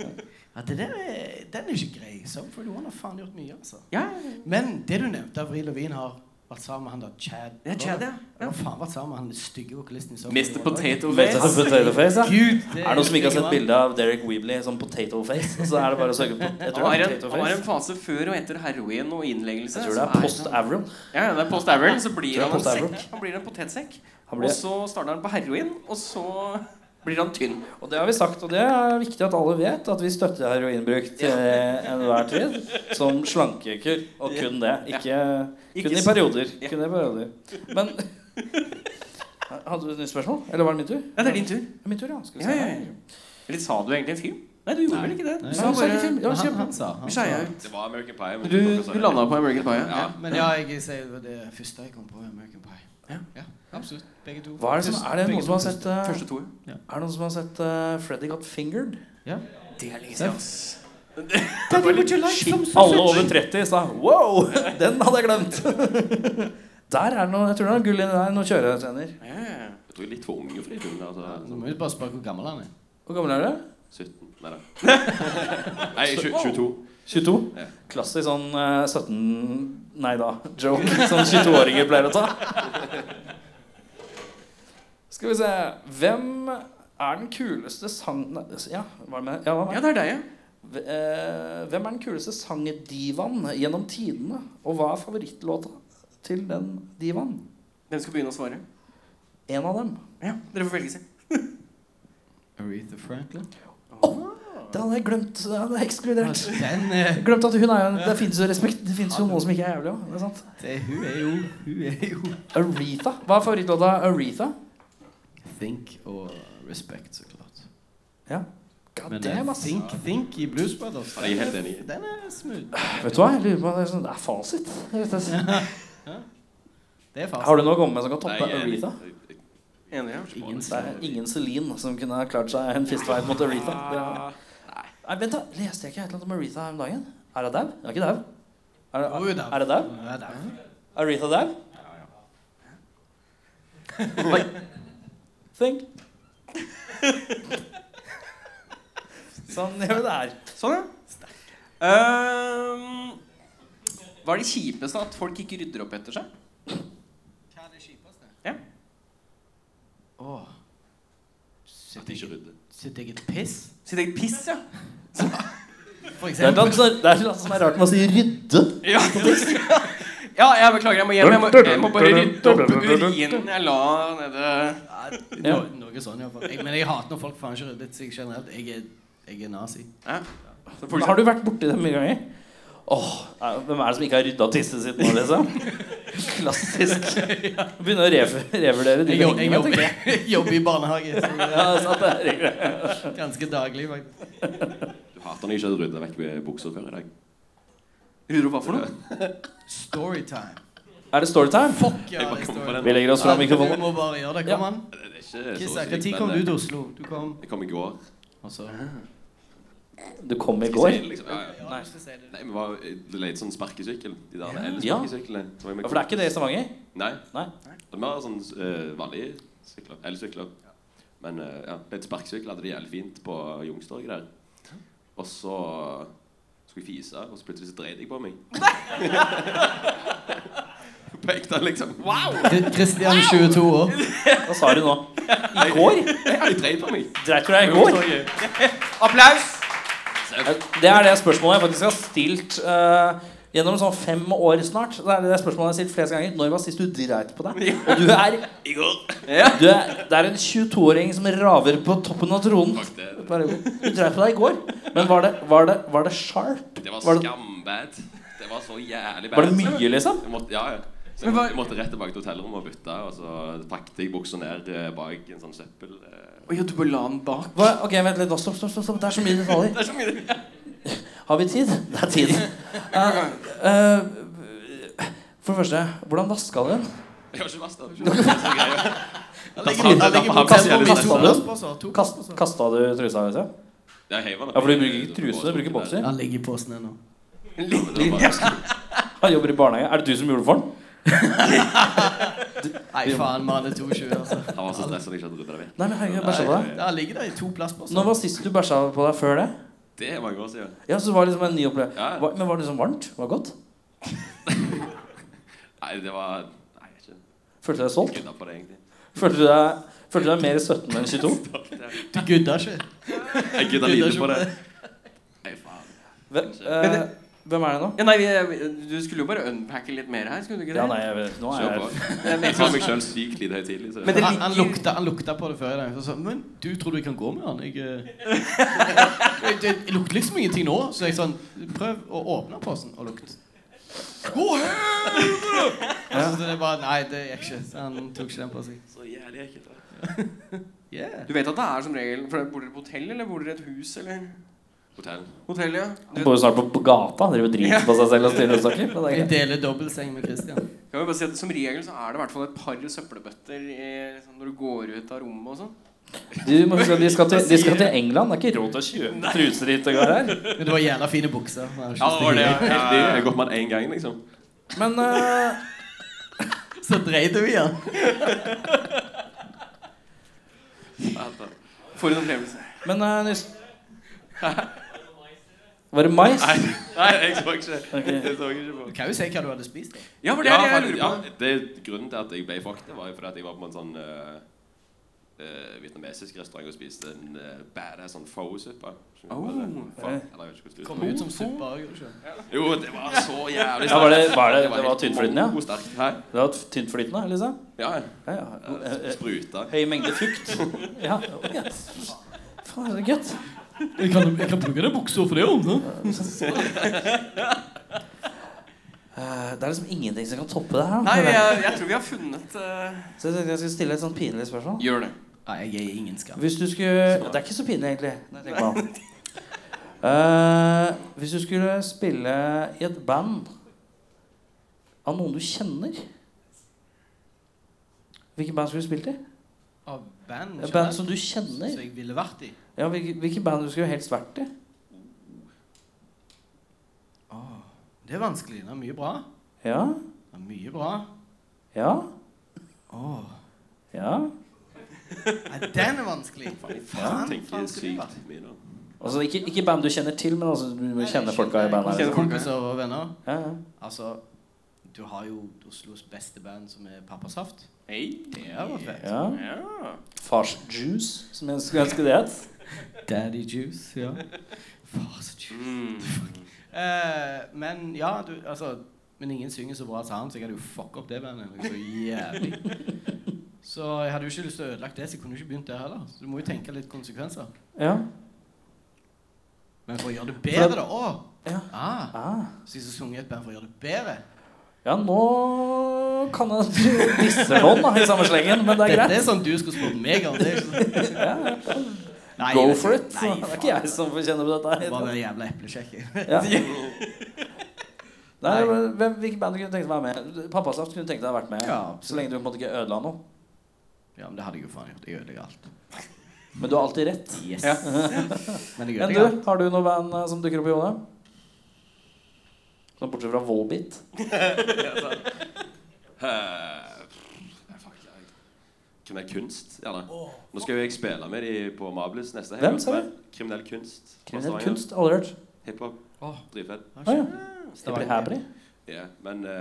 Speaker 4: Ja, det der er, den er ikke grei. Some for one har faen gjort mye, altså.
Speaker 2: Ja,
Speaker 4: Men det du nevnte, Avril Lavigne har vært sammen med han der Chad.
Speaker 2: det er Chad, ja.
Speaker 4: Han har faen vært sammen med han stygge vokalisten i Some
Speaker 2: Mr.
Speaker 4: for One.
Speaker 2: Potato
Speaker 3: Vet du
Speaker 2: Face.
Speaker 3: at Potato Face, ja?
Speaker 4: Gud,
Speaker 3: Er det noen som ikke har sett bilde av Derek Weebly som potato face? Så er det bare å søke på jeg
Speaker 2: Han
Speaker 3: tror det
Speaker 2: har,
Speaker 3: er
Speaker 2: en,
Speaker 3: potato
Speaker 2: han har
Speaker 3: face.
Speaker 2: en fase før og etter heroin og innleggelse.
Speaker 3: Jeg tror
Speaker 2: så
Speaker 3: det er post Avril.
Speaker 2: Ja, ja, det er post Avril, så
Speaker 3: Tror
Speaker 2: blir
Speaker 3: det
Speaker 2: han
Speaker 3: er
Speaker 2: en
Speaker 3: post Avril.
Speaker 2: sekk. Han blir en potetsekk.
Speaker 3: Han
Speaker 2: Og
Speaker 3: blir-
Speaker 2: så starter han på heroin, og så blir han tynn.
Speaker 3: Og det har vi sagt, og det er viktig at alle vet at vi støtter heroinbruk til enhver tid som slankekur. Og kun det. Ikke,
Speaker 2: Ikke
Speaker 3: kun i
Speaker 2: s-
Speaker 3: perioder.
Speaker 2: Ja.
Speaker 3: Kun i perioder. Men Hadde du et nytt spørsmål? Eller var det min tur?
Speaker 2: Ja, det er din tur.
Speaker 3: Min tur, ja. Skal vi
Speaker 2: Ja,
Speaker 3: se.
Speaker 2: ja, ja. Eller sa du egentlig en film? Nei, du gjorde vel ikke det? Du
Speaker 4: Nei.
Speaker 3: Nei,
Speaker 2: sa
Speaker 3: jeg sa ikke
Speaker 2: bare
Speaker 3: film. Det var
Speaker 4: han,
Speaker 3: kjempe-
Speaker 4: han sa han sa-
Speaker 2: Skeia ut.
Speaker 5: Det var American Pie. men
Speaker 2: Du,
Speaker 5: dere
Speaker 2: du
Speaker 5: sa det.
Speaker 2: landa på American Pie, ja?
Speaker 5: Ja.
Speaker 4: Men ja, jeg sier det var det første jeg kom på. American Pie.
Speaker 2: Ja.
Speaker 4: absolutt. Begge to.
Speaker 3: Hva er det som Er det
Speaker 4: Begge
Speaker 3: noen som har
Speaker 4: to.
Speaker 3: sett eh,
Speaker 2: Første to.
Speaker 3: Er det noen som har sett eh, Freddy Got Fingered?
Speaker 4: Ja.
Speaker 2: Det er lenge
Speaker 4: siden,
Speaker 2: Daddy, would you like some
Speaker 3: Alle over 30 sa wow, den hadde jeg glemt. Der er det noe, jeg tror det er noe gull inni der. Noen kjøretrener.
Speaker 5: Jeg tror jeg er litt for unge for de filmene.
Speaker 4: Så
Speaker 5: Altså,
Speaker 4: må vi bare spørre hvor gammel han er.
Speaker 3: Hvor gammel er du?
Speaker 5: 17 Nei da. Nei, tjue- 22.
Speaker 3: 22?
Speaker 5: Ja.
Speaker 3: Klassisk sånn eh, 17 Nei da-joke som 22-åringer pleier å ta. Skal vi se Hvem er den kuleste sang... Nei, Ja, hva er det? med- Ja, hva
Speaker 2: Ja,
Speaker 3: er det?
Speaker 2: det er deg, ja.
Speaker 3: V- eh, Hvem er den kuleste sangdivaen gjennom tidene? Og hva er favorittlåta til den divaen?
Speaker 2: Hvem skal begynne å svare?
Speaker 3: En av dem.
Speaker 2: Ja, Dere får velge selv.
Speaker 4: Aretha Franklin.
Speaker 3: Det hadde jeg glemt. Det hadde jeg ekskludert.
Speaker 4: Den eh,
Speaker 3: Glemt at hun er jo en, Det fins jo respekt. Det finnes jo noen som ikke er jævlig òg. Det er sant.
Speaker 4: det, Hun er jo Hun er jo
Speaker 3: Aretha. Hva er favorittlåta Aretha?
Speaker 4: Think og Respect, så klart.
Speaker 3: Ja. God damn,
Speaker 4: eh,
Speaker 3: ass.
Speaker 4: Think, Think i Blues Brothers.
Speaker 5: Ja, jeg er helt enig.
Speaker 4: Den er smooth.
Speaker 3: Vet du hva? Jeg lurer på om det er, sånn, det er fasit. Jeg vet ikke.
Speaker 4: Det er fast.
Speaker 3: Har du noe å komme med som kan
Speaker 5: Nei,
Speaker 3: toppe
Speaker 5: jeg-
Speaker 3: Aretha?
Speaker 5: jeg-
Speaker 2: Enig, ja.
Speaker 5: jeg-
Speaker 4: Ingen
Speaker 3: Det er ingen Celine som kunne ha klart seg en fistfight mot Aretha. Det
Speaker 1: Ah.
Speaker 3: er- Nei, vent da, Leste jeg ikke et eller annet om Aretha her om dagen? Er hun dau? Hun er ikke dau. Er,
Speaker 4: Jo, hun er dau.
Speaker 3: er det dau?
Speaker 4: Ja, det er hun.
Speaker 3: Aretha dau? Oi. Think. Sånn gjør vi det her.
Speaker 2: Sånn, ja. Ehm, hva er det kjipeste? At folk ikke rydder opp etter seg?
Speaker 4: Hva er det kjipeste?
Speaker 2: Ja.
Speaker 4: Åh.
Speaker 5: At de ikke rydder.
Speaker 4: Sitt eget piss,
Speaker 2: Sitt eget piss, ja.
Speaker 4: for
Speaker 3: Det er
Speaker 4: eksempel.
Speaker 3: noe som- det er noe som er rart med å si rydde.
Speaker 2: Ja, ja jeg beklager, jeg må hjem. Jeg må, jeg må bare rydde opp urinen jeg la nede.
Speaker 4: Ja,
Speaker 3: Ja.
Speaker 4: no- Noe sånn, iallfall. Men jeg hater når folk faen ikke rydder seg generelt. Jeg er, jeg er nazi.
Speaker 2: Ja. Så
Speaker 3: Men
Speaker 2: folk,
Speaker 3: Har du vært borti det mye ganger? Åh, nei, Hvem er det som ikke har rydda tisset sitt nå, liksom? Klassisk. Begynner å rev- revurdere de
Speaker 4: Jeg, jo- jeg,
Speaker 3: tingene,
Speaker 4: jobber,
Speaker 3: tenker jeg.
Speaker 4: jeg jobber i barnehage så det
Speaker 3: Ja, sant, det er regler.
Speaker 4: er ganske daglig, faktisk.
Speaker 5: Du hater når jeg ikke hadde rydda vekk med buksa før i dag.
Speaker 2: rydder opp hva for noe?
Speaker 4: Storytime.
Speaker 3: Er det storytime?
Speaker 4: Fuck ja,
Speaker 5: Jeg bare
Speaker 4: det er
Speaker 5: kom på
Speaker 4: storytime.
Speaker 5: den.
Speaker 3: Vi legger oss fram
Speaker 4: Ja,
Speaker 3: mikrofonen.
Speaker 4: Du må bare gjøre det.
Speaker 3: Ja.
Speaker 4: Kom an.
Speaker 5: Det er ikke så
Speaker 4: Kissa,
Speaker 5: sykt,
Speaker 4: når
Speaker 5: men,
Speaker 4: kom du
Speaker 5: eh,
Speaker 4: til Oslo? Du kom Altså,
Speaker 5: Jeg kom i går.
Speaker 4: Og så
Speaker 3: Du kom i
Speaker 5: Skal
Speaker 3: går.
Speaker 5: jeg si det, liksom? Ja, ja.
Speaker 4: Ja, du skal si det.
Speaker 5: Nei, vi var det leide sånn sparkesykkel. De der
Speaker 3: Ja.
Speaker 5: elsparkesyklene. Ja,
Speaker 3: Ja, for det er ikke det i Stavanger?
Speaker 5: Nei.
Speaker 3: Nei.
Speaker 5: Vi har sånn eh, vanlige sykler. Elsykler. Men uh, ja, leide sparkesykkel hadde de jævlig fint på Youngstorget der. Og så skulle jeg fise, og så plutselig så dreide jeg på meg. Pekte han liksom. Wow!
Speaker 4: Kristian, 22 år.
Speaker 3: Hva sa du nå? I går?
Speaker 5: Jeg drev på meg.
Speaker 3: Dreit du deg i går?
Speaker 2: Applaus!
Speaker 3: Det er det spørsmålet jeg faktisk har stilt eh, gjennom sånn fem år snart. Det er det spørsmålet jeg har stilt flest ganger. Når var sist du dreit på deg? Og du er
Speaker 5: I går.
Speaker 3: Du er, det er en 22-åring som raver på toppen av tronen.
Speaker 5: Fuck det.
Speaker 3: Bare, Du dreit på deg i går. Men var det, var det, var det sharp?
Speaker 5: Det var
Speaker 3: Var det-
Speaker 5: skambad. Det var så jævlig bad.
Speaker 3: Var det mye, liksom?
Speaker 5: Jeg måtte, ja, ja. Så
Speaker 2: Men
Speaker 5: jeg
Speaker 2: hva-
Speaker 5: måtte, jeg måtte rett tilbake til hotellrommet og bytte. Og så pakket jeg buksa ned eh, bak en sånn søppel... eh.
Speaker 2: Å ja, du bare la den bak.
Speaker 3: Hva, ok, vent litt. nå. Stopp, stopp, stopp, stopp. Det er så mye detaljer.
Speaker 5: Det er så mye det.
Speaker 3: Har vi tid? Det er tid. Eh, eh, for det første, hvordan vaska du den?
Speaker 5: Jeg har ikke vasket den. Det er så greia. sånn.
Speaker 3: Kast, kasta du trusa? Liksom?
Speaker 5: Jeg heiv den opp
Speaker 3: Ja, for du
Speaker 5: i-
Speaker 3: bruker ikke truse, du bruker bokser.
Speaker 4: Han ligger i posen ennå.
Speaker 5: Ja, men det var bare-
Speaker 3: Han jobber i barnehage. Er det du som gjorde det for den?
Speaker 4: Nei, faen, mann. Det er 22, altså.
Speaker 5: Han var så stresset at jeg ikke hadde ryddet det vekk.
Speaker 3: Nei, men herregud, jeg bæsja på deg.
Speaker 4: Ja, Han ligger der i to plastposer.
Speaker 3: Når var sist du bæsja på deg før det?
Speaker 5: Det er mange år siden.
Speaker 3: Ja, så det var liksom en ny opplevelse.
Speaker 5: Ja.
Speaker 3: Var- Men var det liksom varmt? Var det godt?
Speaker 5: Nei, det var Nei, jeg er
Speaker 3: Følte du deg
Speaker 5: ikke
Speaker 3: solgt?
Speaker 5: gudda på det, egentlig.
Speaker 3: Følte du deg, følte du deg mer 17 enn 22?
Speaker 4: Du gudda ikke.
Speaker 5: Jeg gudda
Speaker 4: Gudda
Speaker 5: lite
Speaker 4: ikke
Speaker 5: på
Speaker 4: på
Speaker 5: det. Nei, faen.
Speaker 3: Hvem, eh, hvem er det nå?
Speaker 2: Ja, nei, vi- Du skulle jo bare unpacke litt mer her. skulle du ikke det?
Speaker 3: Ja, nei, jeg vet Nå
Speaker 5: Kjør
Speaker 3: er
Speaker 5: på.
Speaker 3: jeg
Speaker 5: Jeg tar meg sjøl sykt lite høytidelig. så-
Speaker 2: sånn- Men det
Speaker 4: Han,
Speaker 2: ligger-
Speaker 4: han, lukta, han lukta på det før i dag. Så sa han, men du tror du kan gå med han? Jeg, eh, jeg, det det lukter liksom ingenting nå. Så jeg sånn Prøv å åpne posen og lukt. Gå her! Altså, så det bare Nei, det gikk ikke. Så han tok ikke den på seg.
Speaker 5: Så jævlig ekkelt. da.
Speaker 4: Yeah.
Speaker 2: Du vet at det er som regel for Bor dere på hotell, eller bor dere i et hus, eller?
Speaker 5: Hotell.
Speaker 2: Hotell, ja. Du
Speaker 3: Han
Speaker 2: vet,
Speaker 3: bor jo snart på- på gata. Han driver og driter på seg selv og styrer og snakker. Men det er
Speaker 4: Jeg
Speaker 3: greit.
Speaker 4: deler dobbeltseng med Christian.
Speaker 2: kan vi bare si at Som regel så er det i hvert fall et par søppelbøtter i, liksom, når du går ut av rommet og sånn.
Speaker 3: Du må huske at de skal, til, de skal til England. Det er ikke råd til å kjøpe truser hit og går her.
Speaker 4: Men det var jævla fine bukser. Han har ikke
Speaker 5: Ja, det var det.
Speaker 4: stilt i.
Speaker 5: Heldig. Jeg har gått med den én gang, liksom.
Speaker 3: Men eh,
Speaker 4: Så dreide vi han.
Speaker 2: For en opplevelse.
Speaker 3: Men eh, Nils Var det mais?
Speaker 5: Nei, nei, jeg så ikke. Jeg så ikke på.
Speaker 4: Du kan jo si hva du hadde spist. da.
Speaker 2: Ja, for det er
Speaker 5: Ja,
Speaker 2: det jeg
Speaker 5: for-
Speaker 2: lurer på.
Speaker 5: ja, det er grunnen til at jeg ble fucked, det var jo fordi at jeg var på en sånn eh, eh, vietnamesisk restaurant og spiste en eh, badass sånn pho-suppe.
Speaker 2: Oh.
Speaker 5: Oh.
Speaker 4: Kom ut som suppa òg, gjorde du ikke?
Speaker 5: Jo, det var så jævlig
Speaker 3: Ja, var det-
Speaker 5: sterkt.
Speaker 3: var det- det
Speaker 5: helt
Speaker 3: var tynnflytende, ja?
Speaker 5: mongo sterkt. Hæ?
Speaker 3: Det var tyntflytende, liksom?
Speaker 5: Ja, ja.
Speaker 3: Ja, ja. Eh, eh,
Speaker 5: Spruta.
Speaker 3: Høy mengde fukt. Ja. å, ja. Faen, så gøtt.
Speaker 4: Jeg kan, jeg kan bruke den buksa for det òg.
Speaker 3: Eh, Det er liksom ingenting som kan toppe det her. da.
Speaker 2: Nei, jeg, jeg tror vi har funnet eh,
Speaker 3: Så jeg tenkte jeg skulle stille et sånn pinlig spørsmål.
Speaker 2: Gjør det.
Speaker 4: Nei, jeg er ingen skam.
Speaker 3: Hvis du skulle Det er ikke så pinlig, egentlig. når jeg tenker meg om. Eh, hvis du skulle spille i et band av noen du kjenner Hvilket band skulle du spilt i?
Speaker 4: Av band?
Speaker 3: Et band
Speaker 4: generelt,
Speaker 3: som du kjenner?
Speaker 4: som jeg ville vært i.
Speaker 3: Ja, hvilket, hvilket band du skulle helst vært i?
Speaker 4: Det er vanskelig. Det er mye bra.
Speaker 3: Ja?
Speaker 4: Det er mye bra.
Speaker 3: Ja?
Speaker 4: Åh.
Speaker 3: Ja?
Speaker 4: Nei, den er vanskelig.
Speaker 5: Jeg
Speaker 4: Faen,
Speaker 5: tenker
Speaker 4: faen, skal det
Speaker 5: sykt
Speaker 4: være?
Speaker 5: mye nå.
Speaker 3: Altså, ikke, ikke band du kjenner til, men altså, du må kjenne folka i bandet.
Speaker 4: Kjenner
Speaker 3: Liksom.
Speaker 4: kompiser og venner.
Speaker 3: Ja, ja.
Speaker 4: Altså, du har jo Oslos beste band, som er Pappa Saft.
Speaker 2: Hei.
Speaker 4: Det er jo fett.
Speaker 3: ja.
Speaker 2: Ja.
Speaker 3: Fars Juice, som jeg skulle ønske det het.
Speaker 4: Daddy Juice, ja. Fast Juice.
Speaker 2: Mm.
Speaker 4: Eh, men ja, du, altså Men ingen synger så bra som han, så jeg hadde jo fucka opp det bandet noe så jævlig. Så jeg hadde jo ikke lyst til å ødelegge det, så jeg kunne jo ikke begynt der heller. Så du må jo tenke litt konsekvenser.
Speaker 3: Ja.
Speaker 4: Men for å gjøre det bedre, da. Å!
Speaker 3: Ja.
Speaker 4: Ah,
Speaker 3: Ah.
Speaker 4: så jeg skal synge i et band for å gjøre det bedre?
Speaker 3: Ja, nå kan jeg disse noen da, i samme slengen, men det er
Speaker 4: Dette
Speaker 3: greit.
Speaker 4: er sånn du skulle spurt meg om. Det er ikke sånn. Nei,
Speaker 3: Go
Speaker 4: jeg vet
Speaker 3: for
Speaker 4: ikke.
Speaker 3: it. Så det er ikke jeg som får kjenne på
Speaker 4: Det var
Speaker 3: dette.
Speaker 4: den jævla eplekjekken.
Speaker 3: her. Ja. Nei, men hvem, hvilket band kunne du tenkt deg å være med? Pappasaft kunne du tenkt deg å ha vært med,
Speaker 4: Ja, absolutt.
Speaker 3: så lenge du på en måte ikke ødela noe.
Speaker 4: Ja, men det hadde jeg jo faen gjort. Jeg ødelegger alt.
Speaker 3: Men du har alltid rett.
Speaker 4: Yes.
Speaker 3: Ja.
Speaker 4: Men jeg
Speaker 3: Men
Speaker 4: ødelegger
Speaker 3: du,
Speaker 4: alt.
Speaker 3: har du noe band eh, som dukker opp i hodet? Sånn bortsett fra Volbeat.
Speaker 5: Eh, pff, fuck, jeg- Kriminell kunst, gjerne. Nå skal jo jeg spille med de på Mablis neste helg.
Speaker 3: Hvem, sa du?
Speaker 5: Kriminell kunst. fra
Speaker 3: Kriminell
Speaker 5: Stavanger.
Speaker 3: kunst, aldri hørt.
Speaker 5: Hiphop.
Speaker 4: Åh.
Speaker 5: Dritfett.
Speaker 3: Å ja. Hebri,
Speaker 4: Stavanger.
Speaker 3: hebri.
Speaker 5: Ja, men eh,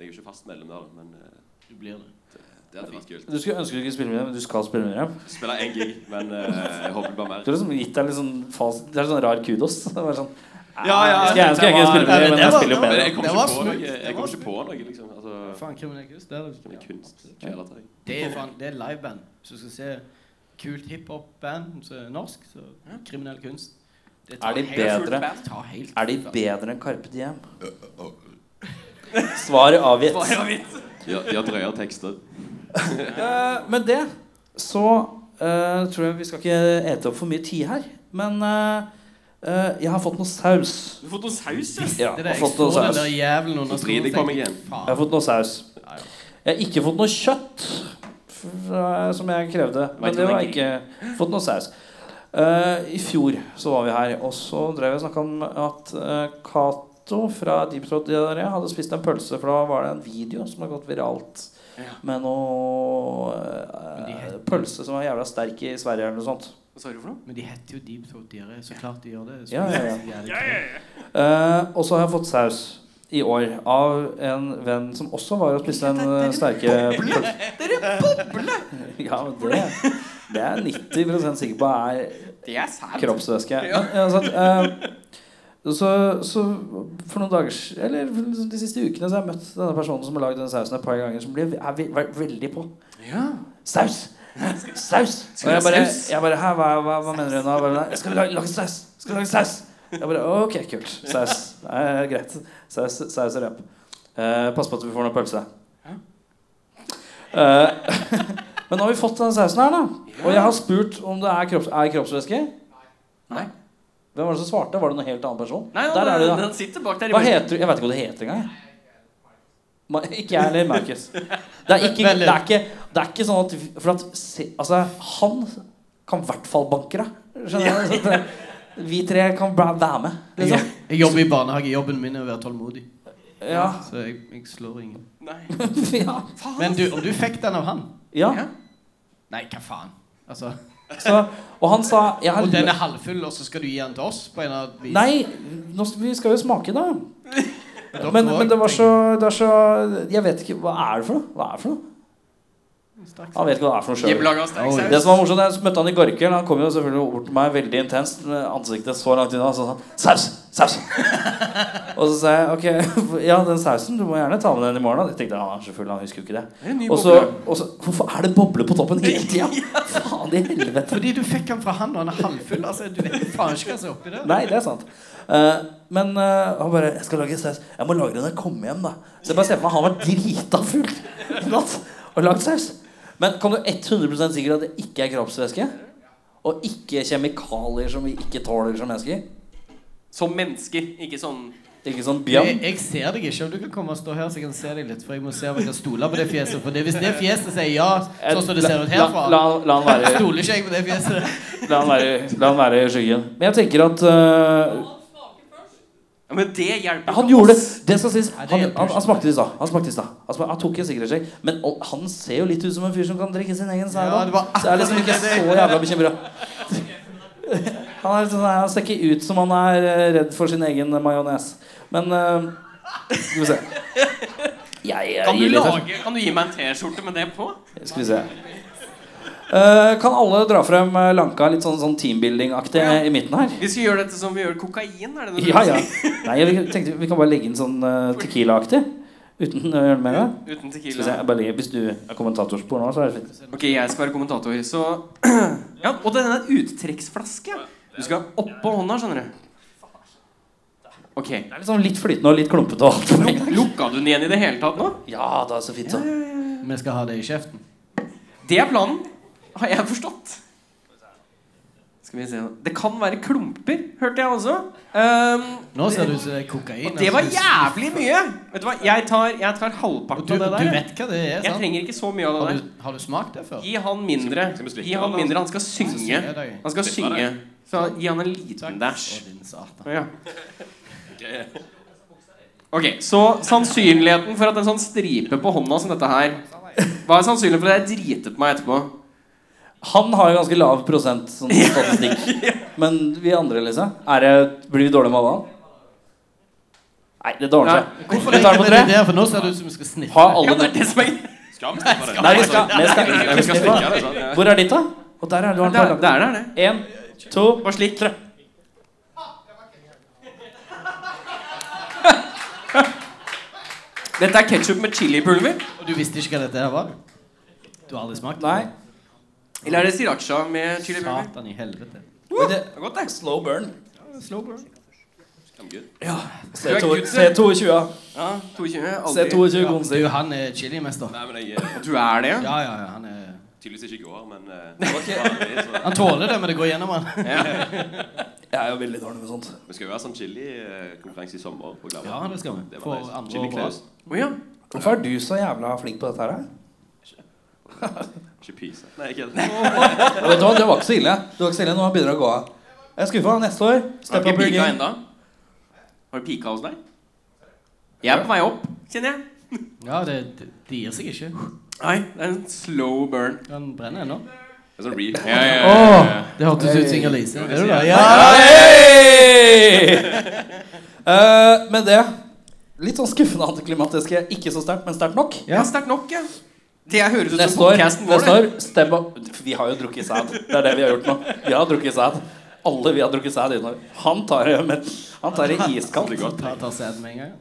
Speaker 5: jeg er jo ikke fast medlem der, da, men eh,
Speaker 4: Du blir det.
Speaker 5: Det hadde vært kult.
Speaker 3: Du skulle ønske du ikke spille med dem, men du skal spille med dem.
Speaker 5: Spille én gig, men eh, jeg håper det blir
Speaker 3: Du har
Speaker 5: mer.
Speaker 3: liksom gitt deg litt sånn fas, det er sånn rar kudos. Det er bare sånn,
Speaker 5: Ja, ja,
Speaker 3: skal jeg, skal jeg ikke spille med dem, men jeg spiller jo
Speaker 5: Men
Speaker 3: bedre.
Speaker 5: jeg kom
Speaker 4: Det var
Speaker 5: ikke på noe,
Speaker 4: smooth.
Speaker 5: jeg kom ikke på noe liksom. Altså,
Speaker 4: Faen, kriminell kunst. Det er,
Speaker 5: det er kunst. Kjæletøy.
Speaker 4: det er, faen, det er liveband. Hvis du skal se kult hiphop-band som er norsk, så kriminell kunst det tar
Speaker 3: Er de
Speaker 4: helt-
Speaker 3: bedre?
Speaker 4: det tar helt-
Speaker 3: Er de bedre enn Carpe Diem? Svar avgitt.
Speaker 5: De har- de har drøye tekster.
Speaker 3: Eh, med det så eh, tror jeg vi skal ikke ete opp for mye tid her. Men eh, eh, jeg har fått noe saus.
Speaker 2: Du har fått noe saus, ja.
Speaker 3: Ja, jeg
Speaker 4: Det er
Speaker 3: har
Speaker 4: det jeg
Speaker 3: fått noe
Speaker 4: så den
Speaker 3: saus.
Speaker 4: der jævelen under
Speaker 5: Så drit i
Speaker 4: skoen,
Speaker 5: kom
Speaker 4: tenkte jeg,
Speaker 5: igjen.
Speaker 3: Jeg har
Speaker 4: Faen.
Speaker 3: fått noe saus.
Speaker 4: Ja, ja.
Speaker 3: Jeg har ikke fått noe kjøtt fra- som jeg krevde. Men
Speaker 5: Vet
Speaker 3: det
Speaker 5: du
Speaker 3: var
Speaker 5: hva jeg
Speaker 3: ikke fått noe saus. Eh, I fjor så var vi her, og så drev jeg og snakka om at eh, Cato fra Deep Throat Diaré hadde spist en pølse, for da var det en video som hadde gått viralt med noe eh, pølse som var jævla sterk i Sverige eller noe sånt.
Speaker 2: Hva sa du for noe?
Speaker 4: Men de heter jo Deep Throat Diaré, så klart de gjør det. Så
Speaker 3: Ja, ja, ja.
Speaker 4: jævlig
Speaker 1: Ja, ja, ja.
Speaker 3: Eh, og så har jeg fått saus i år av en venn som også var og spiste en eh, sterke pølse. Ja, men det, det er jeg 90 sikker på er
Speaker 2: Det er sæd.
Speaker 3: kroppsvæske. Men, ja, sant, eh, så, så for noen dager s- Eller liksom de siste ukene så har jeg møtt denne personen som har lagd denne sausen et par ganger, som blir, er, ve- vært veldig på.
Speaker 2: Ja.
Speaker 3: Saus! Saus! Og
Speaker 2: du
Speaker 3: jeg
Speaker 2: ha
Speaker 3: bare,
Speaker 2: saus?
Speaker 3: jeg bare Hæ, hva, hva, hva mener du nå? Jeg Bare, «Nei, jeg skal lage, lage saus! Jeg Skal lage saus! Jeg bare Ok, kult. Saus. Nei, greit. Saus, saus og rep. Eh, pass på at vi får noe pølse. Eh, men nå har vi fått den sausen her, da. Og jeg har spurt om det er, kropps, er kroppsvæske.
Speaker 2: Nei.
Speaker 3: Hvem var det som svarte? Var det noen helt annen person?
Speaker 2: Nei, nei,
Speaker 3: Der er du,
Speaker 2: den,
Speaker 3: da.
Speaker 2: den sitter bak der. i
Speaker 3: Hva
Speaker 2: mørket.
Speaker 3: heter du? Jeg vet ikke hva du heter engang. Ma- Ikke jeg heller, Markus. Det er ikke, det er ikke, det er ikke sånn at For at se, altså, han kan i hvert fall banke deg. Skjønner du? Så det- Vi tre kan bra- være med.
Speaker 4: Jeg,
Speaker 3: Liksom.
Speaker 4: jeg jobber i barnehage. Jobben min er å være tålmodig.
Speaker 3: Ja.
Speaker 4: Så jeg, jeg slår ingen.
Speaker 2: Nei.
Speaker 3: ja.
Speaker 4: Men du, om du fikk den av han
Speaker 3: ja.
Speaker 4: Nei, hva faen? Altså,
Speaker 3: Så, og han sa jeg har
Speaker 4: og den
Speaker 3: lø-
Speaker 4: er halvfull, og så skal du gi den til oss? På en eller annen vis?
Speaker 3: Nei, nå, skal- vi skal jo smake, da.
Speaker 4: Dere
Speaker 3: Men,
Speaker 4: også,
Speaker 3: men det var
Speaker 4: tenker
Speaker 3: så, det er så Jeg vet ikke Hva er det for noe? Hva er det for noe?
Speaker 4: jeg. Straks.
Speaker 3: Han vet ikke hva det er for noe sjøl.
Speaker 2: Hjemmelaga sterk
Speaker 4: Oi.
Speaker 2: saus.
Speaker 3: Det som var morsomt, Jeg møtte han i går kveld. Han kom jo selvfølgelig bort til meg veldig intenst med ansiktet så langt unna. og Så sa han 'saus! Saus!' og så sa jeg 'ok, ja, den sausen, du må gjerne ta med den i morgen'. da.» Jeg tenkte han er så full, han husker jo ikke det.
Speaker 2: Det er en ny
Speaker 3: Og så,
Speaker 2: boble.
Speaker 3: og så Hvorfor er det boble på toppen hele tida? Faen i helvete.
Speaker 4: Fordi du fikk den fra han, og han er halvfull? Altså, du vet jo faen ikke hva som er oppi der.
Speaker 3: Nei, det er sant. Eh, men eh, han bare 'Jeg skal lage saus. Jeg må lage den når jeg kommer hjem', da. Så jeg bare ser for meg han var drita full i natt og lagd saus. Men kan du 100 sikkert at det ikke er kroppsvæske? Og ikke kjemikalier som vi ikke tåler som mennesker?
Speaker 2: Som mennesker, ikke sånn
Speaker 3: Ikke sånn
Speaker 4: Jeg,
Speaker 3: bjørn?
Speaker 4: jeg ser deg ikke. Om du kan komme og stå her, så jeg kan se deg litt. For jeg må se om jeg kan stole på det fjeset. For det, hvis det fjeset sier ja, sånn som det ser ut
Speaker 3: La, la,
Speaker 4: herfra,
Speaker 3: la, han være,
Speaker 4: stoler ikke jeg på det fjeset.
Speaker 3: la, han være, la han være i skyggen. Men jeg tenker at eh,
Speaker 2: ja, Men det hjelper
Speaker 3: Han
Speaker 2: ikke
Speaker 3: gjorde
Speaker 2: oss.
Speaker 3: det. det skal sies,
Speaker 4: Nei, det
Speaker 3: han,
Speaker 4: hjelper
Speaker 3: han,
Speaker 4: ikke.
Speaker 3: han smakte det i stad. Han, smakte i stad. han, smak- han tok en sikkerhetssjekk. Men og, han ser jo litt ut som en fyr som kan drikke sin egen sau.
Speaker 4: Ja, det var
Speaker 3: så jeg er liksom ikke
Speaker 4: akkurat det.
Speaker 3: så jævla bekymra. Han, er litt sånn, her- han ser ikke ut som han er eh, redd for sin egen majones. Men eh, Skal vi se. Jeg, jeg
Speaker 2: Kan du,
Speaker 3: gir litt her.
Speaker 2: lage, kan du gi meg en T-skjorte med det på?
Speaker 3: Skal vi se. Eh, kan alle dra frem eh, Lanka litt sånn, sånn teambuilding-aktig
Speaker 2: Ja.
Speaker 3: i midten her?
Speaker 2: Vi skal gjøre dette som vi gjør kokain. er det det du
Speaker 3: Ja, ja.
Speaker 2: sier?
Speaker 3: Nei, jeg tenkte vi kan bare legge inn sånn eh, Tequila-aktig. Uten å gjøre mer av det.
Speaker 2: Uten
Speaker 3: Skal vi se,
Speaker 2: tequila.
Speaker 3: jeg bare legger, Hvis du er kommentatorspor nå, så er det fint.
Speaker 2: Ok, jeg skal være kommentator, så Ja, og denne er en uttrekksflaske. Du skal oppå hånda, skjønner du. Ok.
Speaker 3: Det er liksom litt flytende og litt klumpete. og alt mulig.
Speaker 2: Lukka du den igjen i det hele tatt nå?
Speaker 3: Ja, det er så fint, så.
Speaker 4: Vi skal ha det i kjeften.
Speaker 2: Det er planen, har jeg forstått. Skal vi se nå. Det kan være klumper, hørte jeg også. Ehm,
Speaker 4: Nå ser det ut som det er kokain.
Speaker 2: og det var
Speaker 4: altså.
Speaker 2: jævlig mye! Vet du hva, jeg tar, jeg tar
Speaker 4: Og
Speaker 2: halvparten
Speaker 4: du,
Speaker 2: av det
Speaker 4: du
Speaker 2: der. jeg.
Speaker 4: vet hva det er,
Speaker 2: Jeg
Speaker 4: sant?
Speaker 2: trenger ikke så mye av det
Speaker 4: Har
Speaker 2: der.
Speaker 4: du, har du smakt det før?
Speaker 2: Gi han mindre.
Speaker 5: Skal vi slikke
Speaker 2: Gi han
Speaker 5: den, da?
Speaker 2: mindre. Han skal synge.
Speaker 4: Jeg deg.
Speaker 2: Han skal
Speaker 5: Slikke den,
Speaker 2: synge. Så gi han en
Speaker 4: Takk.
Speaker 2: liten dæsj.
Speaker 4: Å, din satan.
Speaker 2: Ja. Ok, så sannsynligheten for at en sånn stripe på hånda som dette her Hva er sannsynligheten for at jeg driter på meg etterpå?
Speaker 3: Han har jo ganske lav prosent sånn statistikk. Men vi andre, liksom? Er det, blir vi dårlige med alle? Nei, det dårner seg.
Speaker 2: Nei.
Speaker 4: Hvorfor
Speaker 3: Vi
Speaker 4: er
Speaker 3: tar
Speaker 4: det
Speaker 3: mot
Speaker 4: det
Speaker 3: tre.
Speaker 4: der? For nå ser det ut som vi skal snitte.
Speaker 3: Ha
Speaker 2: Ja,
Speaker 3: alle
Speaker 2: det er det som er
Speaker 5: Skal vi snakke om det?
Speaker 3: Nei, vi skal, vi skal
Speaker 5: Ja,
Speaker 3: ikke
Speaker 5: vi skal
Speaker 3: slippe.
Speaker 5: stikke det sånn. ja.
Speaker 3: Hvor er ditt, da? Og der er du. har
Speaker 2: Det er
Speaker 3: den
Speaker 2: det, er det.
Speaker 3: En, to,
Speaker 2: Bare slik. Dette er ketsjup med chilipulver.
Speaker 4: Og du visste ikke hva dette her var? Du har aldri smakt?
Speaker 3: Nei.
Speaker 2: Eller er det sriracha med chilipulver?
Speaker 4: Satan i helvete.
Speaker 3: Oi, det-
Speaker 2: Det er godt, det.
Speaker 3: Slow burn.
Speaker 4: Slow burn.
Speaker 5: I'm good.
Speaker 2: Du er
Speaker 3: C2-
Speaker 2: gutt, du.
Speaker 3: C22. ja.
Speaker 2: Ja, 22. Aldri.
Speaker 3: C22
Speaker 4: Ja,
Speaker 3: konser.
Speaker 4: du, han er chilimester.
Speaker 5: Nei, men jeg eh,
Speaker 2: Du er det, ja?
Speaker 4: Ja, ja, ja, han er
Speaker 5: tydeligvis ikke går, men eh, det var ikke vanlig, så.
Speaker 4: Han tåler det, men det går gjennom han.
Speaker 3: Jeg er jo veldig dårlig med sånt.
Speaker 5: Vi skal jo ha sånn chili-konkurranse i sommer på Glava.
Speaker 4: Ja, det skal vi.
Speaker 5: Det
Speaker 4: For
Speaker 5: var nice.
Speaker 4: andre
Speaker 5: Chili
Speaker 4: år på
Speaker 5: Claus.
Speaker 2: Å ja.
Speaker 3: Hvorfor er du så jævla flink på dette her? da?
Speaker 5: Ikke pise. Nei, ikke det.
Speaker 3: Ja, vet du hva, Det var ikke så ille. Det var ikke så ille, Nå begynner det å gå av. Jeg er skuffa. Neste år
Speaker 2: Har
Speaker 3: Step
Speaker 2: du
Speaker 3: up
Speaker 2: ikke
Speaker 3: your
Speaker 2: pika
Speaker 3: game.
Speaker 2: enda? Har du pika hos deg? Jeg er på vei opp, kjenner jeg.
Speaker 4: Ja, det, det, det gir seg ikke.
Speaker 2: Nei, det er en slow burn.
Speaker 4: Han brenner ennå.
Speaker 5: Det er sånn re-
Speaker 4: Det hørtes ut som Inger-Lise. Er du der? Ja!
Speaker 3: Eh, med det Litt sånn skuffende antiklimatiske. Ikke så sterkt, men sterkt nok.
Speaker 2: Ja, sterkt nok, ja. Det høres ut som
Speaker 3: Neste år,
Speaker 2: podcasten vår.
Speaker 3: neste
Speaker 2: det.
Speaker 3: år stem opp Vi har jo drukket sæd. Det er det vi har gjort nå. Vi har drukket sæd. Alle vi har drukket sæd innom. Han tar det men Han tar det iskaldt.
Speaker 5: Det er godt.
Speaker 4: Ta, ta sæden med en gang.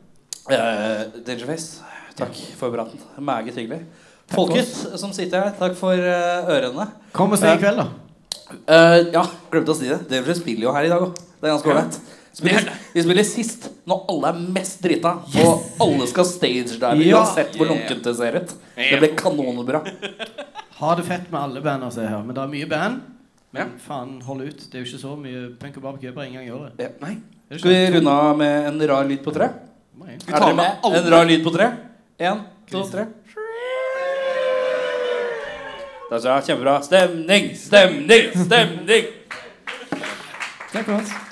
Speaker 3: Eh, Dangerface, takk for praten. Meget hyggelig. Folket som sitter her, takk for eh, ørene.
Speaker 4: Kom og se i kveld, da.
Speaker 3: Eh, ja, glemte å si det. Dangerface spiller jo her i dag òg. Det er ganske ålreit. Spiller, vi spiller sist, når alle er mest drita, og alle skal stagedive
Speaker 4: Ja.
Speaker 3: uansett hvor
Speaker 5: Yeah.
Speaker 3: lunkent det ser ut. Det blir kanonbra.
Speaker 4: Ha det fett med alle band, altså, her. men det er mye band. Men faen, hold ut. Det er jo ikke så mye punk og barbecue bare en gang i året.
Speaker 3: Ja.
Speaker 2: Nei.
Speaker 4: Er det
Speaker 3: Skal vi runde av med en rar lyd på tre?
Speaker 4: Nei.
Speaker 2: Vi tar med alle.
Speaker 3: En rar lyd på tre. Én, to, tre. Det er så kjempebra. Stemning, stemning, stemning! Takk for oss.